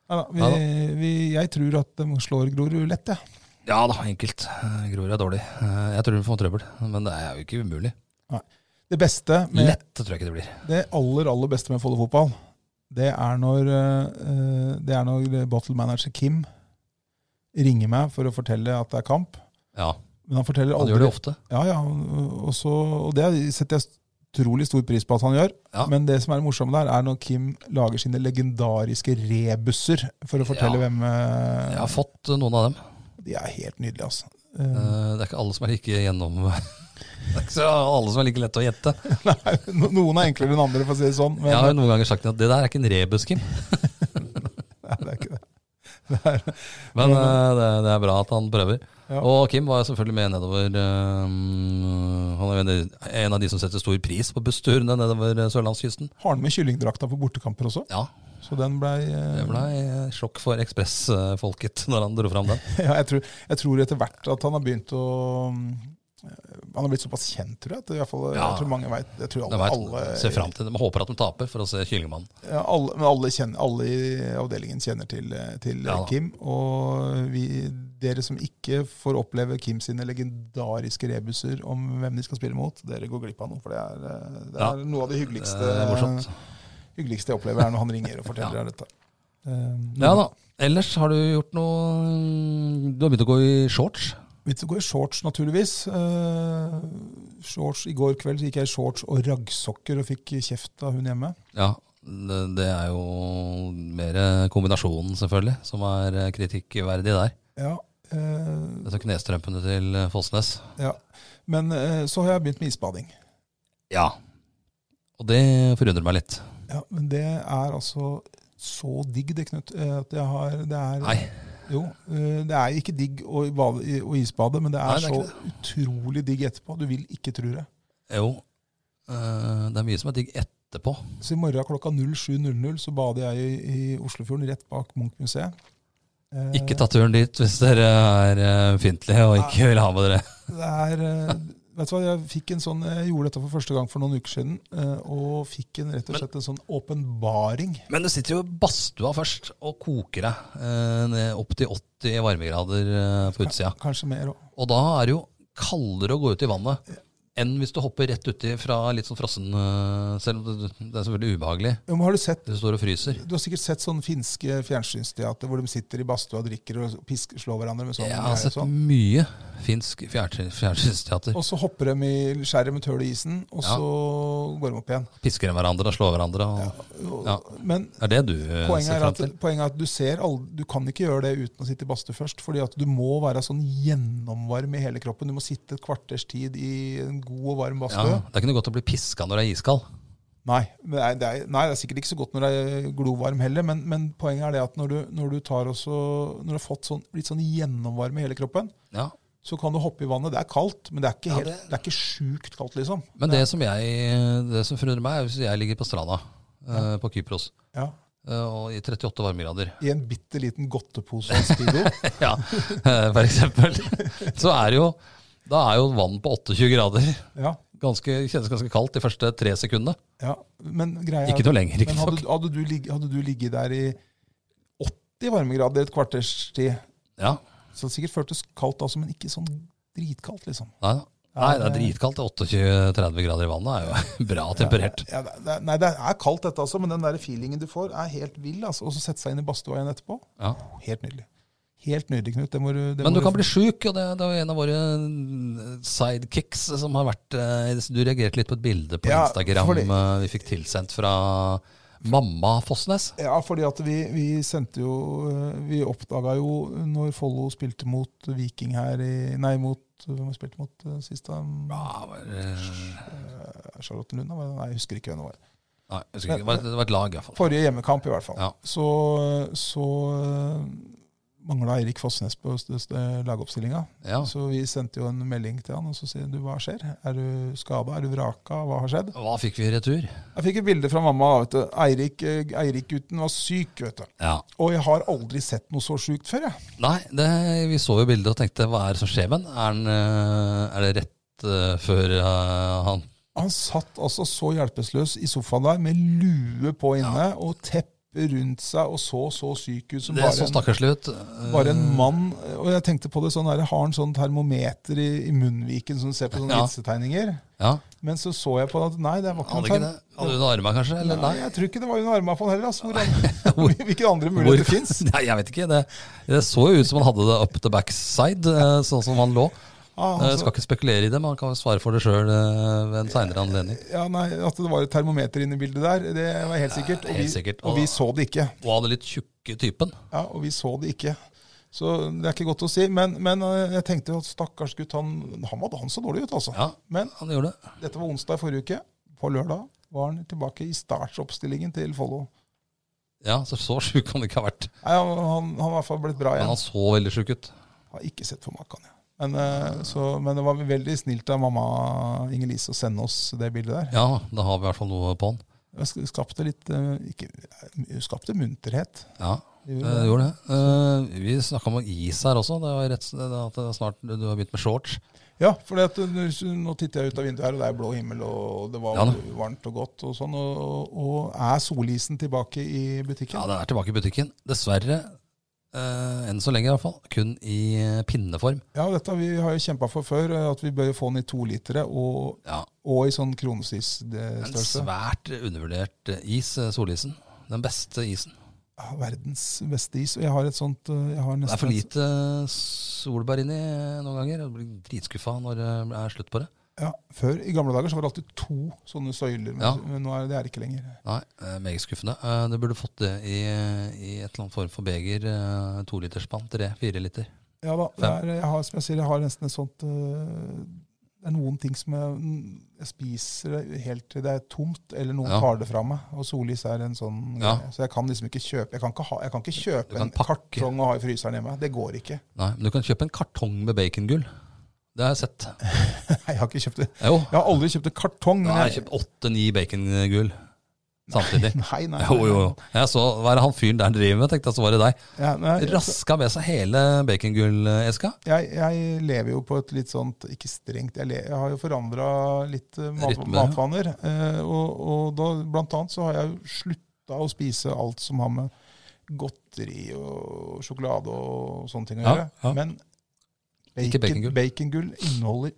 [SPEAKER 2] Neida, vi, vi, jeg tror at de slår Grorud lett, jeg.
[SPEAKER 1] Ja da, enkelt. Eh, Grorud er dårlig. Eh, Jeg tror de får trøbbel, men det er jo ikke umulig.
[SPEAKER 2] Det beste, med,
[SPEAKER 1] Lett tror jeg ikke det blir.
[SPEAKER 2] det aller, aller beste med Follo fotball, det er når, eh, det er når bottle manager Kim ringer meg for å fortelle at det er kamp.
[SPEAKER 1] Ja,
[SPEAKER 2] Men han forteller
[SPEAKER 1] Han gjør
[SPEAKER 2] aldri
[SPEAKER 1] det ofte.
[SPEAKER 2] Ja, ja. Og, så, og det setter jeg utrolig stor pris på at han gjør.
[SPEAKER 1] Ja.
[SPEAKER 2] Men det som er det morsomme der, er når Kim lager sine legendariske rebusser for å fortelle
[SPEAKER 1] Ja.
[SPEAKER 2] hvem eh,
[SPEAKER 1] Jeg har fått eh, noen av dem.
[SPEAKER 2] De er helt nydelige, altså. Eh,
[SPEAKER 1] Eh, Det er ikke alle som er like gjennom Det er ikke så alle som er like lette å gjette.
[SPEAKER 2] Nei, no- noen er enklere enn andre, for å si det sånn. Men
[SPEAKER 1] Jeg har jo noen ganger sagt at det der er ikke en rebus, Kim.
[SPEAKER 2] nei, det er ikke det. det er,
[SPEAKER 1] Men eh, det, det er bra at han prøver.
[SPEAKER 2] Ja.
[SPEAKER 1] Og Kim var selvfølgelig med nedover. eh, han er jo en- en av de som setter stor pris på bussturene nedover eh, sørlandskysten.
[SPEAKER 2] har han med kyllingdrakta på bortekamper også?
[SPEAKER 1] Ja,
[SPEAKER 2] Så den blei eh,
[SPEAKER 1] det blei sjokk for ekspressfolket når han dro fram den.
[SPEAKER 2] ja, jeg, tror, jeg tror etter hvert at han har begynt å eh, Han har blitt såpass kjent, tror jeg. At i hvert fall,
[SPEAKER 1] Ja.
[SPEAKER 2] jeg tror mange vet, jeg tror
[SPEAKER 1] De
[SPEAKER 2] alle, alle
[SPEAKER 1] vet- ser fram til det. De håper at de taper for å se Kyllingmannen.
[SPEAKER 2] Ja, alle, men alle, kjenner, alle i avdelingen kjenner til, eh, til
[SPEAKER 1] Ja da.
[SPEAKER 2] Kim. Og vi, dere som ikke får oppleve Kim sine legendariske rebuser om hvem de skal spille mot, dere går glipp av noe. For det er, eh, det
[SPEAKER 1] Ja.
[SPEAKER 2] er noe av
[SPEAKER 1] Eh,
[SPEAKER 2] det
[SPEAKER 1] Det
[SPEAKER 2] hyggeligste,
[SPEAKER 1] er morsomt.
[SPEAKER 2] hyggeligste jeg opplever, er når han ringer og forteller deg dette. Eh,
[SPEAKER 1] Ja da. Ellers har du gjort noe mm, Du har begynt å gå i shorts.
[SPEAKER 2] Vi går i shorts, naturligvis. Eh, shorts, I går kveld så gikk jeg i shorts og raggsokker og fikk kjeft av hun hjemme.
[SPEAKER 1] Ja, det, det er jo mer eh, kombinasjonen, selvfølgelig, som er eh, kritikkverdig der.
[SPEAKER 2] Ja, eh,
[SPEAKER 1] Disse knestrømpene til eh, Fosnes.
[SPEAKER 2] ja. Men eh, så har jeg begynt med isbading.
[SPEAKER 1] Ja. Og det forundrer meg litt.
[SPEAKER 2] Ja, men det er altså så digg det, Knut. eh, At jeg har, det er
[SPEAKER 1] Nei.
[SPEAKER 2] Jo, eh, det er ikke digg å, bade, i- å isbade, men det er,
[SPEAKER 1] Nei, det er
[SPEAKER 2] så utrolig digg etterpå. Du vil ikke tro det.
[SPEAKER 1] Jo, eh, det er mye som er digg etterpå.
[SPEAKER 2] Så i morgen klokka 07.00 så bader jeg i, i Oslofjorden, rett bak Munch-museet. Eh,
[SPEAKER 1] Ikke ta turen dit hvis dere er eh, ømfintlige og ikke vil ha med dere.
[SPEAKER 2] Det er, eh, vet du hva, jeg, fikk en sånn, jeg gjorde dette for første gang for noen uker siden, eh, og fikk en, rett og
[SPEAKER 1] Men-
[SPEAKER 2] slett en sånn åpenbaring.
[SPEAKER 1] Men du sitter jo i badstua først og koker deg eh, ned opp til 80 varmegrader eh, på utsida.
[SPEAKER 2] Kanskje mer òg.
[SPEAKER 1] Og da er det jo kaldere å gå ut i vannet enn hvis du hopper rett uti fra litt sånn frossen eh, Selv om det, det er selvfølgelig ubehagelig.
[SPEAKER 2] Ja, men har du sett
[SPEAKER 1] Du står og fryser.
[SPEAKER 2] Du har sikkert sett sånn finske fjernsynsteater hvor de sitter i badstua og drikker og pisk, slår hverandre med sånn.
[SPEAKER 1] Jeg
[SPEAKER 2] greier
[SPEAKER 1] har
[SPEAKER 2] og
[SPEAKER 1] sett
[SPEAKER 2] sånn.
[SPEAKER 1] mye finsk fjernsyn- fjernsynsteater.
[SPEAKER 2] Og så hopper de i skjæret med tøl i isen, og
[SPEAKER 1] Ja.
[SPEAKER 2] så går de opp igjen.
[SPEAKER 1] Pisker hverandre og slår hverandre. Og,
[SPEAKER 2] Og-
[SPEAKER 1] Ja.
[SPEAKER 2] Men
[SPEAKER 1] er det du eh,
[SPEAKER 2] poenget
[SPEAKER 1] ser
[SPEAKER 2] er,
[SPEAKER 1] fram
[SPEAKER 2] at,
[SPEAKER 1] til?
[SPEAKER 2] poenget er at du ser aldri, du kan ikke gjøre det uten å sitte i badstue først. fordi at du må være sånn gjennomvarm i hele kroppen. Du må sitte et kvarters tid i en god og varm
[SPEAKER 1] Ja,
[SPEAKER 2] badstue.
[SPEAKER 1] det er ikke noe godt å bli piska når det er iskald.
[SPEAKER 2] Nei, men det er, det er, nei, det er sikkert ikke så godt når det er glovarm heller, men, men poenget er det at når du, når du, tar også, når du har fått sånn, blitt sånn gjennomvarm i hele kroppen,
[SPEAKER 1] Ja.
[SPEAKER 2] så kan du hoppe i vannet. Det er kaldt, men det er ikke,
[SPEAKER 1] Ja,
[SPEAKER 2] helt,
[SPEAKER 1] det-
[SPEAKER 2] det... er ikke sjukt kaldt, liksom.
[SPEAKER 1] Men det som, jeg, det som forundrer meg, er hvis jeg ligger på stranda eh, på Kypros
[SPEAKER 2] Ja.
[SPEAKER 1] eh, og i 38 varmegrader,
[SPEAKER 2] I en bitte liten godtepose og en Speedo.
[SPEAKER 1] ja, eh, for eksempel, så er det jo da er jo vann på 28 grader
[SPEAKER 2] ja,
[SPEAKER 1] ganske, kjennes ganske kaldt de første tre sekundene.
[SPEAKER 2] ja. Men greia er-
[SPEAKER 1] Ikke noe lenger,
[SPEAKER 2] men hadde,
[SPEAKER 1] riktignok.
[SPEAKER 2] hadde, du ligg- hadde du ligget der i 80 varmegrader et kvarters tid,
[SPEAKER 1] Ja.
[SPEAKER 2] så det sikkert føltes kaldt da også, men ikke sånn dritkaldt, liksom.
[SPEAKER 1] Nei, da. nei, det er dritkaldt. Det er 28-30 grader i vannet er jo bra temperert.
[SPEAKER 2] Ja, det, det, nei, det er kaldt dette, altså, men den der feelingen du får, er helt vill. Altså. Og så sette seg inn i badstua igjen etterpå.
[SPEAKER 1] Ja.
[SPEAKER 2] Helt nydelig. Helt nydelig, Knut. Det må du, det
[SPEAKER 1] Men
[SPEAKER 2] må
[SPEAKER 1] du kan bli sjuk, og det, det er jo en av våre eh, sidekicks som har vært eh, Du reagerte litt på et bilde på
[SPEAKER 2] Ja,
[SPEAKER 1] Instagram
[SPEAKER 2] fordi-
[SPEAKER 1] eh, vi fikk tilsendt fra mamma Fossnes.
[SPEAKER 2] Ja, fordi at vi, vi sendte jo eh, Vi oppdaga jo når Follo spilte mot Viking her i Nei, mot Hvem spilte mot eh, sist, da?
[SPEAKER 1] Ja, var, eh,
[SPEAKER 2] Charlottenlund? da, var det? Nei, jeg husker ikke hvem det var.
[SPEAKER 1] Nei, jeg husker ikke. Det var, det var et lag, iallfall.
[SPEAKER 2] Forrige hjemmekamp, i hvert fall.
[SPEAKER 1] Ja.
[SPEAKER 2] Så, så mangla Eirik Fossnes på st- st- lagoppstillinga.
[SPEAKER 1] Ja.
[SPEAKER 2] Så vi sendte jo en melding til han, og så sier du hva skjer? Er du skada? Er du vraka? Hva har skjedd?
[SPEAKER 1] Hva fikk vi i retur?
[SPEAKER 2] Jeg fikk et bilde fra mamma. da, vet du. Eirik, eh, Eirik-gutten var syk, vet du.
[SPEAKER 1] Ja.
[SPEAKER 2] Og jeg har aldri sett noe så sjukt før, jeg.
[SPEAKER 1] Nei, det, vi så jo bildet og tenkte hva er det som skjer med den? Er, den, eh, er det rett eh, før eh, han
[SPEAKER 2] Han satt altså så hjelpeløs i sofaen der med lue på inne og teppe rundt seg og så så syk ut som
[SPEAKER 1] Det
[SPEAKER 2] bare
[SPEAKER 1] så
[SPEAKER 2] en-
[SPEAKER 1] stakkarslig ut. Eh,
[SPEAKER 2] Bare en mann, og jeg tenkte på det sånn der, har en sånn termometer i, i munnviken som du ser på sånne
[SPEAKER 1] Ja.
[SPEAKER 2] vitsetegninger.
[SPEAKER 1] Ja,
[SPEAKER 2] Men så så jeg på det at nei, det var ikke
[SPEAKER 1] Hadde
[SPEAKER 2] noe
[SPEAKER 1] ikke
[SPEAKER 2] term...
[SPEAKER 1] det? Hadde hun arma, kanskje? Eller
[SPEAKER 2] Nei,
[SPEAKER 1] nei?
[SPEAKER 2] jeg tror ikke det var under armene på han heller. Altså. Hvor,
[SPEAKER 1] Hvor-
[SPEAKER 2] hvilke andre muligheter
[SPEAKER 1] Hvor-
[SPEAKER 2] fins?
[SPEAKER 1] Nei, jeg vet ikke. Det, det så jo ut som han hadde det up the backside, eh, sånn som han lå.
[SPEAKER 2] Ah,
[SPEAKER 1] Jeg
[SPEAKER 2] altså,
[SPEAKER 1] skal ikke spekulere i det, men han kan jo svare for det sjøl ved en seinere anledning.
[SPEAKER 2] ja, nei, at det var et termometer inne i bildet der, det var helt sikkert. Og vi,
[SPEAKER 1] helt sikkert, og-
[SPEAKER 2] og vi så det ikke.
[SPEAKER 1] Og han er litt tjukke typen.
[SPEAKER 2] Ja, og vi så det ikke. Så det er ikke godt å si. Men, men eh, jeg tenkte jo at stakkars gutt, han, han, var, han så dårlig ut, altså.
[SPEAKER 1] Ja.
[SPEAKER 2] Men
[SPEAKER 1] Han gjorde det.
[SPEAKER 2] Dette var onsdag i forrige uke. På lørdag var han tilbake i startsoppstillingen til Follo.
[SPEAKER 1] Ja, så så sjuk han ikke har vært.
[SPEAKER 2] Nei, han, han, han har i hvert fall blitt bra
[SPEAKER 1] Men
[SPEAKER 2] igjen.
[SPEAKER 1] han så veldig sjuk ut.
[SPEAKER 2] Har ikke sett for maken, jeg. Men, eh, så, men det var veldig snilt av mamma Inger-Lise å sende oss det bildet der.
[SPEAKER 1] Ja, da har vi i hvert fall noe på han.
[SPEAKER 2] Det sk- skapte litt eh, ikke, det skapte munterhet.
[SPEAKER 1] Ja,
[SPEAKER 2] Det
[SPEAKER 1] det
[SPEAKER 2] gjorde det.
[SPEAKER 1] gjorde det. Eh, Vi snakka om is her også. Det var rett, det at det er snart du har begynt med shorts.
[SPEAKER 2] Ja, for nå titter jeg ut av vinduet her, og det er blå himmel, og det var
[SPEAKER 1] Ja da.
[SPEAKER 2] varmt og godt. Og sånn, og, og er solisen tilbake i butikken?
[SPEAKER 1] Ja, det er tilbake i butikken. Dessverre, eh, enn så lenge i hvert fall, kun i eh, pinneform.
[SPEAKER 2] Ja, dette har vi har jo kjempa for før, eh, at vi bør få den i to litere, og
[SPEAKER 1] Ja,
[SPEAKER 2] Og i sånn
[SPEAKER 1] En
[SPEAKER 2] kronesis-størrelse.
[SPEAKER 1] svært undervurdert eh, is, eh, solisen. Den beste isen.
[SPEAKER 2] Ja, verdens beste is. Og jeg har et sånt eh, jeg har
[SPEAKER 1] Det er
[SPEAKER 2] nesten
[SPEAKER 1] for
[SPEAKER 2] et-
[SPEAKER 1] lite solbær inni eh, noen ganger. Jeg blir dritskuffa når det er slutt på det.
[SPEAKER 2] Ja, før, I gamle dager så var det alltid to sånne søyler, men,
[SPEAKER 1] Ja.
[SPEAKER 2] men nå er det, det er det ikke lenger.
[SPEAKER 1] Nei, eh, meget skuffende. Eh, Du burde fått det i, i et eller annet form for beger. eh, Toliterspann. Tre, fire liter.
[SPEAKER 2] Ja da, det er, jeg har, som jeg sier, jeg har nesten et sånt eh, Det er noen ting som jeg, jeg spiser det helt til det er tomt, eller noen
[SPEAKER 1] Ja.
[SPEAKER 2] tar det fra meg. Og solis er en sånn
[SPEAKER 1] Ja.
[SPEAKER 2] greie. Så jeg kan liksom ikke kjøpe Jeg kan ikke, ha, jeg kan ikke
[SPEAKER 1] Du
[SPEAKER 2] kjøpe
[SPEAKER 1] kan
[SPEAKER 2] en
[SPEAKER 1] pakke.
[SPEAKER 2] kartong og ha i fryseren hjemme. Det går ikke.
[SPEAKER 1] Nei, men du kan kjøpe en kartong med bacongull. Det har jeg sett.
[SPEAKER 2] Nei, jeg har ikke kjøpt det.
[SPEAKER 1] Jo.
[SPEAKER 2] Jeg har aldri kjøpt en kartong.
[SPEAKER 1] Da
[SPEAKER 2] men
[SPEAKER 1] har
[SPEAKER 2] jeg-
[SPEAKER 1] jeg kjøpt åtte-ni bacongull samtidig.
[SPEAKER 2] Nei, nei.
[SPEAKER 1] Jo, jo, jo. Jeg så, Hva er det han fyren der driver med? tenkte jeg, så var det deg.
[SPEAKER 2] Ja, nei, jeg-
[SPEAKER 1] Raska med seg hele bacongulleska.
[SPEAKER 2] jeg, jeg lever jo på et litt sånt Ikke strengt, jeg, le- jeg har jo forandra litt eh, mat,
[SPEAKER 1] Rytme.
[SPEAKER 2] matvaner. eh, Og, og da, blant annet så har jeg jo slutta å spise alt som har med godteri og sjokolade og sånne ting å
[SPEAKER 1] Ja,
[SPEAKER 2] gjøre.
[SPEAKER 1] ja.
[SPEAKER 2] Men
[SPEAKER 1] Ikke
[SPEAKER 2] bacon,
[SPEAKER 1] bacongull.
[SPEAKER 2] bacongull inneholder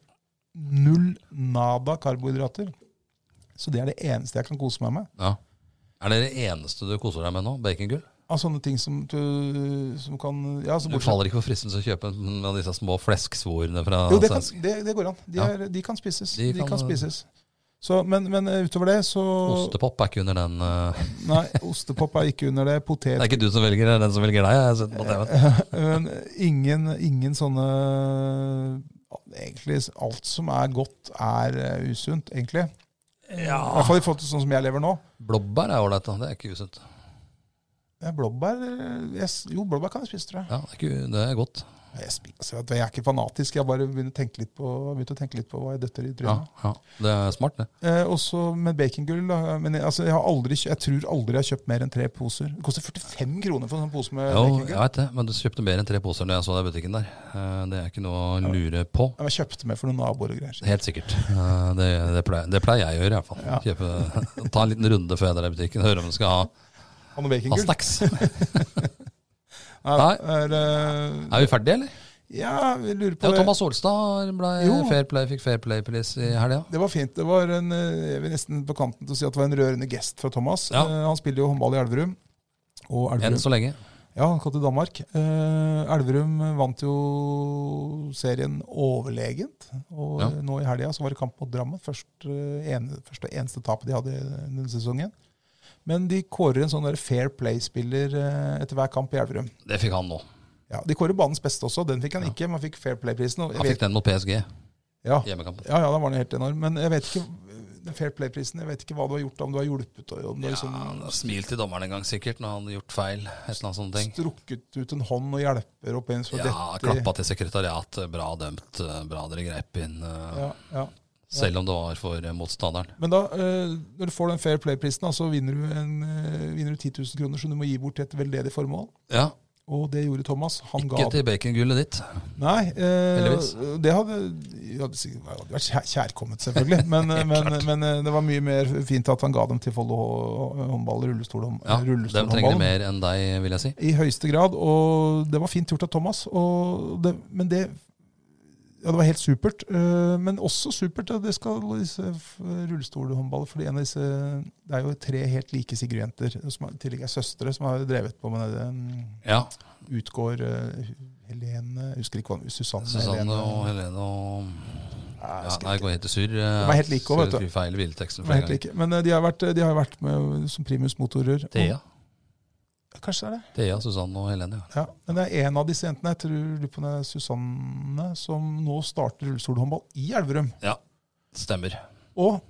[SPEAKER 2] Null nada karbohydrater. Så det er det eneste jeg kan kose meg med.
[SPEAKER 1] Ja. Er det det eneste du koser deg med nå? Bacongull?
[SPEAKER 2] Av sånne ting som, du, som kan ja, så
[SPEAKER 1] Du
[SPEAKER 2] bortsett-
[SPEAKER 1] faller ikke for fristelsen til å kjøpe en av disse små flesksvorene fra
[SPEAKER 2] Jo, det, kan,
[SPEAKER 1] svensk-
[SPEAKER 2] det, det går an. De,
[SPEAKER 1] Ja.
[SPEAKER 2] er, de kan spises.
[SPEAKER 1] De
[SPEAKER 2] De
[SPEAKER 1] kan-
[SPEAKER 2] kan, spises. Så, men, men eh, utover det så
[SPEAKER 1] Ostepop er ikke under den eh,
[SPEAKER 2] Nei, ostepop er ikke under det. Potet
[SPEAKER 1] Det er ikke du som velger, det er den som velger deg. Jeg har sett på TV.
[SPEAKER 2] Men ingen, ingen sånne Egentlig alt som er godt, er eh, usunt, egentlig. I hvert fall i forhold til sånn som jeg lever nå.
[SPEAKER 1] Blåbær er ålreit, da. det er ikke usunt.
[SPEAKER 2] Ja, Blåbær eh, jeg, s- Jo, blåbær kan jeg spise, tror jeg.
[SPEAKER 1] Ja, det, er ikke, det er godt.
[SPEAKER 2] Jeg, spi- altså, vet du, jeg er ikke fanatisk, jeg bare begynner å tenke litt på, begynte å tenke litt på hva jeg døtter i
[SPEAKER 1] Ja,
[SPEAKER 2] trynet.
[SPEAKER 1] ja. Det er smart, det.
[SPEAKER 2] Eh, også med bacongull. da. Men jeg, altså, jeg, har aldri, kjø- jeg tror aldri jeg har kjøpt mer enn tre poser. Det koster 45 kroner for en sånn pose med
[SPEAKER 1] Jo, jeg
[SPEAKER 2] bacongull.
[SPEAKER 1] vet det, men du kjøpte mer enn tre poser da jeg så deg i butikken der. Eh, Det er ikke noe å lure på.
[SPEAKER 2] Ja, men Jeg kjøpte med for noen naboer og greier.
[SPEAKER 1] Helt sikkert. Eh, Det, det, pleier, det pleier jeg å gjøre, i hvert fall.
[SPEAKER 2] Ja.
[SPEAKER 1] Kjøpe, ta en liten runde før jeg drar i butikken, høre om du skal ha,
[SPEAKER 2] Han
[SPEAKER 1] ha
[SPEAKER 2] og bacongull.
[SPEAKER 1] snacks.
[SPEAKER 2] Ja, er, eh,
[SPEAKER 1] Er vi ferdige, eller?
[SPEAKER 2] ja, vi lurer
[SPEAKER 1] Ja,
[SPEAKER 2] på det.
[SPEAKER 1] Thomas Olstad ble
[SPEAKER 2] Jo.
[SPEAKER 1] fair play, fikk Fair Play-pris i helga.
[SPEAKER 2] Det var fint. Det var en, eh, jeg vil nesten på kanten til å si at det var en rørende gest fra Thomas.
[SPEAKER 1] Ja.
[SPEAKER 2] Eh, Han spiller jo håndball i Elverum. Og
[SPEAKER 1] Enn
[SPEAKER 2] Elverum,
[SPEAKER 1] så lenge.
[SPEAKER 2] ja, han kom til Danmark. Eh, Elverum vant jo serien overlegent. Og
[SPEAKER 1] Ja.
[SPEAKER 2] eh, nå i helga så var det kamp mot Drammen. Først, eh, en, første og eneste tapet de hadde denne sesongen. Men de kårer en sånn der fair play-spiller eh, etter hver kamp i Elverum.
[SPEAKER 1] Det fikk han nå.
[SPEAKER 2] Ja, de kårer banens beste også. Den fikk han ikke, men han fikk fair play-prisen. og jeg
[SPEAKER 1] Han
[SPEAKER 2] vet-
[SPEAKER 1] fikk den mot PSG,
[SPEAKER 2] Ja.
[SPEAKER 1] hjemmekampen.
[SPEAKER 2] Ja, ja, da var den helt enorm. Men jeg vet ikke den Fair Play-prisen, jeg vet ikke hva du har gjort, om du har hjulpet og om du har
[SPEAKER 1] Ja, han har
[SPEAKER 2] liksom
[SPEAKER 1] smilt til dommeren en gang sikkert når han har gjort feil. Et eller annet sånt ting.
[SPEAKER 2] strukket ut en hånd og hjelper opp en for
[SPEAKER 1] Ja,
[SPEAKER 2] dette.
[SPEAKER 1] klappa til sekretariat. Bra dømt. eh, Bra dere greip inn. eh,
[SPEAKER 2] Ja, ja.
[SPEAKER 1] Selv om det var for eh, motstanderen.
[SPEAKER 2] Men da, eh, når du får den Fair Play-prisen, da, så vinner du, en, eh, vinner du 10 000 kroner som du må gi bort til et veldedig formål.
[SPEAKER 1] Ja,
[SPEAKER 2] Og det gjorde Thomas. Han
[SPEAKER 1] Ikke
[SPEAKER 2] ga
[SPEAKER 1] til bacongullet ditt.
[SPEAKER 2] Nei. Eh,
[SPEAKER 1] Heldigvis.
[SPEAKER 2] det hadde, det hadde sikkert det hadde vært kjær- kjærkomment, selvfølgelig. Men, eh, men, men eh, det var mye mer fint at han ga dem til Follo håndball, rullestol,
[SPEAKER 1] Ja, De trenger det
[SPEAKER 2] rullestolhåndballen.
[SPEAKER 1] mer enn deg, vil jeg si.
[SPEAKER 2] I høyeste grad, og det var fint gjort av Thomas. Og det, men det Ja, det var helt supert. eh, Men også supert at det skal disse f- rullestolhåndballer. fordi en av disse Det er jo tre helt like Sigurd-jenter, som er- i tillegg er søstre, som har drevet på med det. um,
[SPEAKER 1] Ja,
[SPEAKER 2] Utgår eh, Helene jeg Husker ikke hva hun Susanne,
[SPEAKER 1] Susanne
[SPEAKER 2] Helene.
[SPEAKER 1] og Helene og
[SPEAKER 2] Nei, jeg
[SPEAKER 1] ja,
[SPEAKER 2] husker
[SPEAKER 1] Nei,
[SPEAKER 2] ikke.
[SPEAKER 1] jeg går helt i surr.
[SPEAKER 2] var helt like også, vet du.
[SPEAKER 1] Feil bilteksten
[SPEAKER 2] Det
[SPEAKER 1] for
[SPEAKER 2] var
[SPEAKER 1] en
[SPEAKER 2] helt
[SPEAKER 1] gang.
[SPEAKER 2] like. Men eh, de har vært, de har vært med som primusmotorer. og-
[SPEAKER 1] Thea.
[SPEAKER 2] Kanskje det er det.
[SPEAKER 1] Thea, Susanne og Helene, ja.
[SPEAKER 2] Ja, men det er en av disse jentene, jeg tror du på det er Susanne, som nå starter rullestolhåndball i Elverum.
[SPEAKER 1] Stemmer.
[SPEAKER 2] Og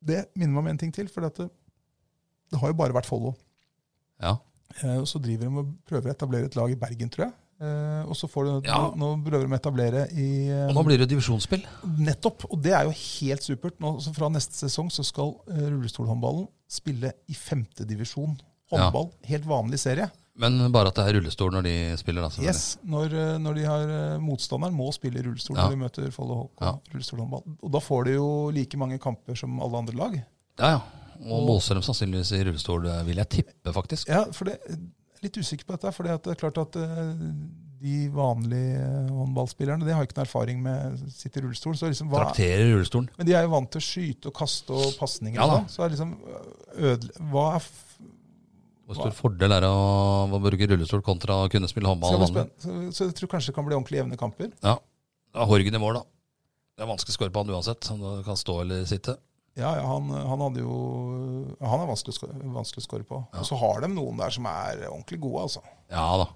[SPEAKER 2] det minner meg om en ting til, for det, det har jo bare vært Follo.
[SPEAKER 1] Ja.
[SPEAKER 2] Eh, og så driver de og prøver å etablere et lag i Bergen, tror jeg. Eh, og så får de,
[SPEAKER 1] Ja.
[SPEAKER 2] nå, nå prøver de å etablere i eh,
[SPEAKER 1] Og nå blir det divisjonsspill.
[SPEAKER 2] Nettopp! Og det er jo helt supert. Nå, så fra neste sesong så skal eh, rullestolhåndballen spille i femtedivisjon. Håndball, helt vanlig serie.
[SPEAKER 1] Men bare at det er rullestol når de spiller, da. selvfølgelig.
[SPEAKER 2] Yes, når, eh, når de har eh, motstanderen må spille i rullestol
[SPEAKER 1] Ja.
[SPEAKER 2] når de møter Follo HK.
[SPEAKER 1] Ja.
[SPEAKER 2] rullestolhåndball. Og da får de jo like mange kamper som alle andre lag.
[SPEAKER 1] Ja, ja. Og moser dem sannsynligvis i rullestol, eh, vil jeg tippe, faktisk.
[SPEAKER 2] Ja, for det, jeg er litt usikker på dette, for det er klart at eh, de vanlige eh, håndballspillerne de har ikke noen erfaring med sitt i rullestol. Så liksom, hva,
[SPEAKER 1] Trakterer rullestolen.
[SPEAKER 2] men de er jo vant til å skyte og kaste og pasninger.
[SPEAKER 1] Ja
[SPEAKER 2] og
[SPEAKER 1] da.
[SPEAKER 2] sånn, så er liksom ødele, hva er f
[SPEAKER 1] Hvor stor fordel er det å, å bruke rullestol kontra å kunne spille
[SPEAKER 2] skal
[SPEAKER 1] håndball?
[SPEAKER 2] bli
[SPEAKER 1] vanlig?
[SPEAKER 2] spenn- så, så jeg tror kanskje det kan bli ordentlig jevne kamper.
[SPEAKER 1] Ja. ja. Horgen i mål, da. Det er vanskelig å score på han uansett. om Du kan stå eller sitte.
[SPEAKER 2] Ja, ja han, han hadde jo Han er vanskelig, å sko- vanskelig å score på. Og så har de noen der som er ordentlig gode, altså.
[SPEAKER 1] Ja da.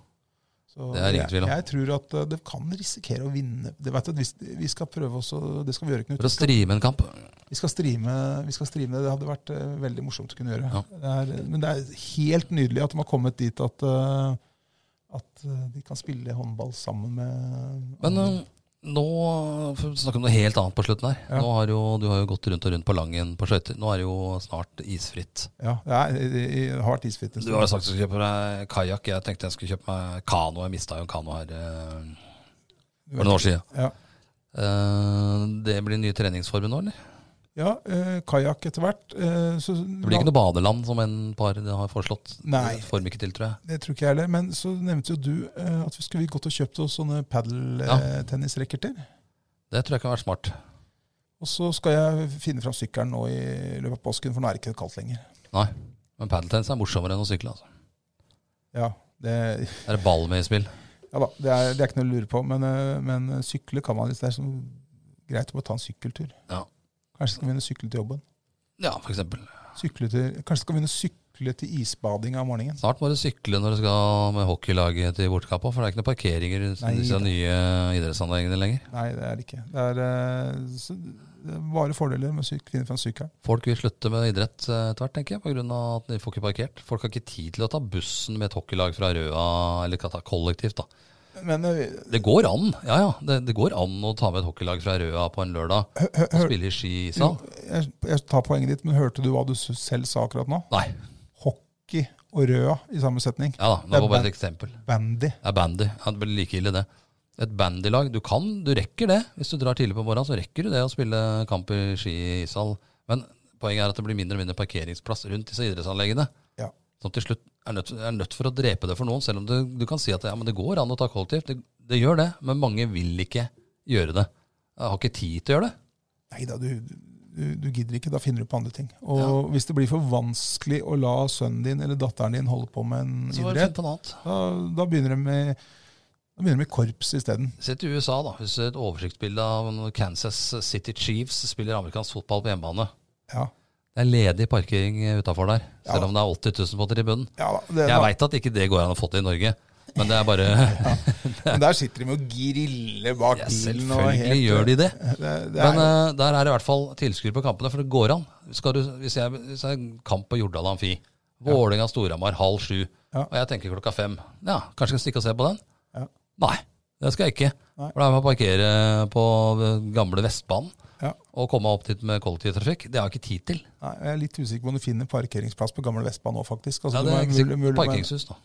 [SPEAKER 2] Så
[SPEAKER 1] Det er ingen tvil om.
[SPEAKER 2] Jeg, jeg tror at eh, det kan risikere å vinne. Det, vet du, hvis, vi skal prøve også, det skal vi gjøre, Knut.
[SPEAKER 1] For å streame en kamp.
[SPEAKER 2] Vi skal streame, vi skal streame det. Det hadde vært eh, veldig morsomt å kunne gjøre.
[SPEAKER 1] Ja.
[SPEAKER 2] Det er, men det er helt nydelig at de har kommet dit at, eh, at eh, de kan spille håndball sammen med
[SPEAKER 1] Men eh, nå for å snakke om noe helt annet på slutten her.
[SPEAKER 2] Ja.
[SPEAKER 1] Nå har jo, du har jo gått rundt og rundt på Langen på skøyter. Nå er det jo snart isfritt.
[SPEAKER 2] Ja, det, er, det, det har vært isfritt. en
[SPEAKER 1] Du
[SPEAKER 2] stund.
[SPEAKER 1] har jo sagt du skulle kjøpe deg kajakk. Jeg tenkte jeg skulle kjøpe meg kano. Jeg mista jo en kano her eh, for noen år siden.
[SPEAKER 2] Ja.
[SPEAKER 1] Eh, det blir nye treningsformer nå, eller?
[SPEAKER 2] Ja, eh, kajakk etter hvert. Eh, så,
[SPEAKER 1] Det blir ikke noe badeland, som en par har foreslått.
[SPEAKER 2] Nei.
[SPEAKER 1] Det Form ikke til, tror jeg.
[SPEAKER 2] Det tror ikke jeg heller. Men så nevnte jo du eh, at vi skulle gått og kjøpt oss sånne
[SPEAKER 1] Ja.
[SPEAKER 2] padeltennisracketer.
[SPEAKER 1] Det tror jeg kan være smart.
[SPEAKER 2] Og så skal jeg finne fram sykkelen nå i løpet av påsken, for nå er det ikke kaldt lenger.
[SPEAKER 1] Nei. Men padeltennis er morsommere enn å sykle. altså.
[SPEAKER 2] Ja, det,
[SPEAKER 1] Det er ball med i spill.
[SPEAKER 2] ja da, det, er, det er ikke noe å lure på, men, øh, men øh, sykle kan man hvis det er sånn, greit å bare ta en sykkeltur.
[SPEAKER 1] Ja.
[SPEAKER 2] Kanskje skal vi begynne å sykle til jobben.
[SPEAKER 1] Ja, for eksempel.
[SPEAKER 2] Sykle til, kanskje skal vi begynne å sykle til isbading om morgenen.
[SPEAKER 1] Snart må du sykle når du skal med hockeylaget til bortkamp òg, for det er ikke noen parkeringer rundt
[SPEAKER 2] Nei,
[SPEAKER 1] disse
[SPEAKER 2] da.
[SPEAKER 1] nye idrettsanleggene lenger.
[SPEAKER 2] Nei, det er det ikke. Det er, øh, så, det er bare fordeler med å syk- finne fram sykkelen.
[SPEAKER 1] Folk vil slutte med idrett eh, etter hvert, tenker jeg, pga. at de får ikke parkert. Folk har ikke tid til å ta bussen med et hockeylag fra Røa, eller kan ta kollektivt, da.
[SPEAKER 2] Men øh,
[SPEAKER 1] Det går an, ja ja. Det, det går an å ta med et hockeylag fra Røa på en lørdag og spille i skisal.
[SPEAKER 2] jeg, jeg tar poenget ditt, men hørte du hva du s- selv sa akkurat nå?
[SPEAKER 1] Nei.
[SPEAKER 2] Hockey og røda i samme setning.
[SPEAKER 1] Ja da,
[SPEAKER 2] Det er
[SPEAKER 1] det var bare
[SPEAKER 2] band.
[SPEAKER 1] et eksempel.
[SPEAKER 2] Bandy.
[SPEAKER 1] Det er bandy. Ja, det blir like ille, det. Et bandylag. Du kan, du rekker det. Hvis du drar tidlig på morgenen, så rekker du det å spille kamp i ski i ishall. Men poenget er at det blir mindre og mindre parkeringsplass rundt disse idrettsanleggene.
[SPEAKER 2] Ja.
[SPEAKER 1] Som til slutt er nødt, er nødt for å drepe det for noen, selv om du, du kan si at ja, men det går an å ta kollektivt. Det, det gjør det, men mange vil ikke gjøre det. Jeg har ikke tid til å gjøre det.
[SPEAKER 2] Nei da, du, du, du gidder ikke. Da finner du på andre ting. Og hvis det blir for vanskelig å la sønnen din eller datteren din holde på med en
[SPEAKER 1] Så får vi
[SPEAKER 2] idrett,
[SPEAKER 1] finne på noe annet.
[SPEAKER 2] da, da begynner de med da begynner de med korps isteden.
[SPEAKER 1] Se til USA, da. Hvis et oversiktsbilde av når Kansas City Chiefs spiller amerikansk fotball på hjemmebane.
[SPEAKER 2] Ja.
[SPEAKER 1] Det er ledig parkering utafor der,
[SPEAKER 2] Ja.
[SPEAKER 1] selv om det er 80 000 på tribunen.
[SPEAKER 2] Ja, da, det,
[SPEAKER 1] Jeg
[SPEAKER 2] da,
[SPEAKER 1] veit at ikke det går an å få til i Norge, men det er bare
[SPEAKER 2] men der sitter de med å grille bak
[SPEAKER 1] ja,
[SPEAKER 2] bilen. og
[SPEAKER 1] Selvfølgelig
[SPEAKER 2] helt-
[SPEAKER 1] gjør de det.
[SPEAKER 2] Det, det er,
[SPEAKER 1] Men eh, der er det i hvert fall tilskuere på kampene, for det går an. Skal du, hvis, jeg, hvis jeg er kamp på Jordal Amfi, Vålerenga-Storhamar halv sju,
[SPEAKER 2] Ja.
[SPEAKER 1] og jeg tenker klokka fem Ja, kanskje jeg skal stikke og se på den?
[SPEAKER 2] Ja.
[SPEAKER 1] Nei, det skal jeg ikke.
[SPEAKER 2] Nei.
[SPEAKER 1] For da må jeg parkere på eh, gamle Vestbanen
[SPEAKER 2] Ja.
[SPEAKER 1] og komme opp dit med kollektivtrafikk. Det har jeg ikke tid til.
[SPEAKER 2] nei, jeg er litt usikker på om du finner parkeringsplass på gamle Vestbanen nå, faktisk. Altså,
[SPEAKER 1] Ja,
[SPEAKER 2] du
[SPEAKER 1] det er
[SPEAKER 2] må ha
[SPEAKER 1] ikke
[SPEAKER 2] mulig-
[SPEAKER 1] sikkert
[SPEAKER 2] mulig-
[SPEAKER 1] parkeringshus, da.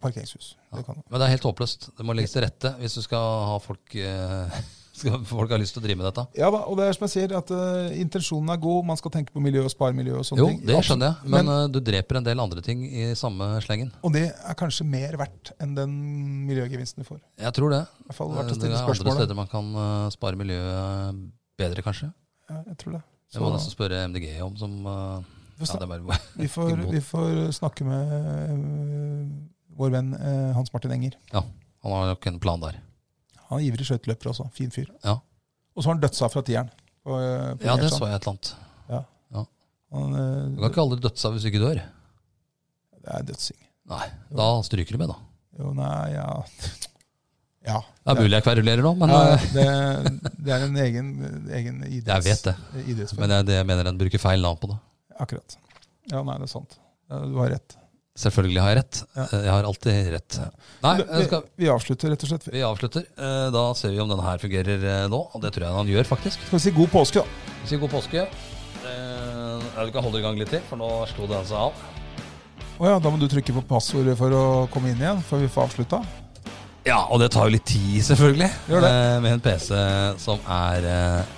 [SPEAKER 2] Parkeringshus. Det kan du.
[SPEAKER 1] Men det er helt håpløst. Det må legges til rette hvis du skal ha folk eh, Skal folk ha lyst til å drive med dette.
[SPEAKER 2] Ja da, og det er som jeg sier, at eh, intensjonen er god. Man skal tenke på miljø og spare miljø og sånne
[SPEAKER 1] Jo,
[SPEAKER 2] ting.
[SPEAKER 1] det
[SPEAKER 2] Absolutt.
[SPEAKER 1] skjønner jeg, men, eh, du dreper en del andre ting i samme slengen.
[SPEAKER 2] Og det er kanskje mer verdt enn den miljøgevinsten du får. I
[SPEAKER 1] Jeg tror det.
[SPEAKER 2] hvert fall
[SPEAKER 1] Eh,
[SPEAKER 2] verdt å
[SPEAKER 1] det er
[SPEAKER 2] stille
[SPEAKER 1] andre
[SPEAKER 2] spørsmålet.
[SPEAKER 1] steder man kan eh, spare miljøet bedre, kanskje.
[SPEAKER 2] Ja, jeg tror det.
[SPEAKER 1] Det må jeg nesten
[SPEAKER 2] Så,
[SPEAKER 1] spørre MDG om, som eh,
[SPEAKER 2] Vi
[SPEAKER 1] ja,
[SPEAKER 2] får
[SPEAKER 1] det er bare,
[SPEAKER 2] vi, får, vi får snakke med eh, vår venn eh, Hans Martin Enger.
[SPEAKER 1] Han har nok en plan der.
[SPEAKER 2] Han er ivrig skøyteløper også. Fin fyr.
[SPEAKER 1] Ja.
[SPEAKER 2] Og så har han dødsa fra tieren. På, eh, på
[SPEAKER 1] Ja, det
[SPEAKER 2] Gjertsen.
[SPEAKER 1] så jeg et eller annet.
[SPEAKER 2] Han,
[SPEAKER 1] Du
[SPEAKER 2] eh,
[SPEAKER 1] kan ikke aldri dødse av hvis du ikke dør.
[SPEAKER 2] det er dødsing.
[SPEAKER 1] Nei, Da stryker du med, da.
[SPEAKER 2] Jo, nei, ja Ja.
[SPEAKER 1] Det er mulig jeg kverulerer nå, men
[SPEAKER 2] Ja,
[SPEAKER 1] eh,
[SPEAKER 2] det, det er en egen, egen
[SPEAKER 1] jeg vet
[SPEAKER 2] idretts,
[SPEAKER 1] det.
[SPEAKER 2] idrettsform.
[SPEAKER 1] Men det er det jeg mener en bruker feil navn på det.
[SPEAKER 2] Akkurat. Ja, nei, det er sant. Ja, Du har rett.
[SPEAKER 1] Selvfølgelig har jeg rett. Eh,
[SPEAKER 2] Ja.
[SPEAKER 1] Jeg har alltid rett. Nei,
[SPEAKER 2] Men
[SPEAKER 1] jeg
[SPEAKER 2] vi,
[SPEAKER 1] skal,
[SPEAKER 2] vi avslutter rett og slett.
[SPEAKER 1] vi avslutter. Eh, Da ser vi om denne her fungerer eh, nå, og det tror jeg han gjør, faktisk.
[SPEAKER 2] Skal vi si god påske, da?
[SPEAKER 1] Vi sier god påske. Eh, ja, Du kan holde i gang litt til, for nå slo den seg av.
[SPEAKER 2] Å ja, da må du trykke på passordet for å komme inn igjen, før vi får avslutta.
[SPEAKER 1] Ja, og det tar jo litt tid, selvfølgelig,
[SPEAKER 2] Gjør det.
[SPEAKER 1] eh, med en PC som er eh,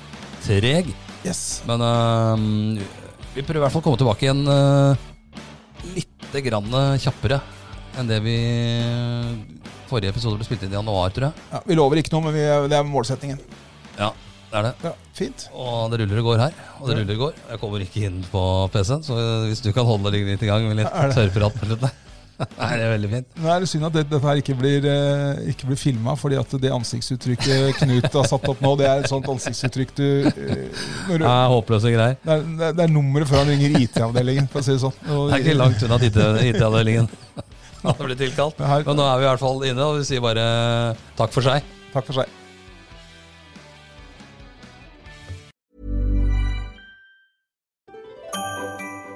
[SPEAKER 1] treg.
[SPEAKER 2] Yes.
[SPEAKER 1] Men eh, vi prøver i hvert fall å komme tilbake igjen eh, litt grann eh, kjappere enn det vi eh, Forrige episode ble spilt inn i januar, tror jeg.
[SPEAKER 2] Ja, vi lover ikke noe, men vi, det er målsettingen.
[SPEAKER 1] Ja, det er det.
[SPEAKER 2] Ja, fint.
[SPEAKER 1] Og det ruller og går her. Og det ruller og går. Jeg kommer ikke inn på PC-en, så hvis du kan holde deg litt i gang med
[SPEAKER 2] Er
[SPEAKER 1] litt
[SPEAKER 2] det-
[SPEAKER 1] tørrprat på slutten Nei, det er veldig fint.
[SPEAKER 2] Nå er det synd at det, dette her ikke blir, eh, ikke blir filma, fordi at det ansiktsuttrykket Knut har satt opp nå, det er et sånt ansiktsuttrykk du eh, når du
[SPEAKER 1] Det er håpløse greier.
[SPEAKER 2] det er, det er- det er nummeret før han ringer IT-avdelingen, for å si det sånn. Og-
[SPEAKER 1] Det er ikke langt unna IT- IT-avdelingen. Nå blir tilkalt.
[SPEAKER 2] Men her-
[SPEAKER 1] Men nå er vi i hvert fall inne, og vi sier bare takk for seg.
[SPEAKER 2] Takk for seg.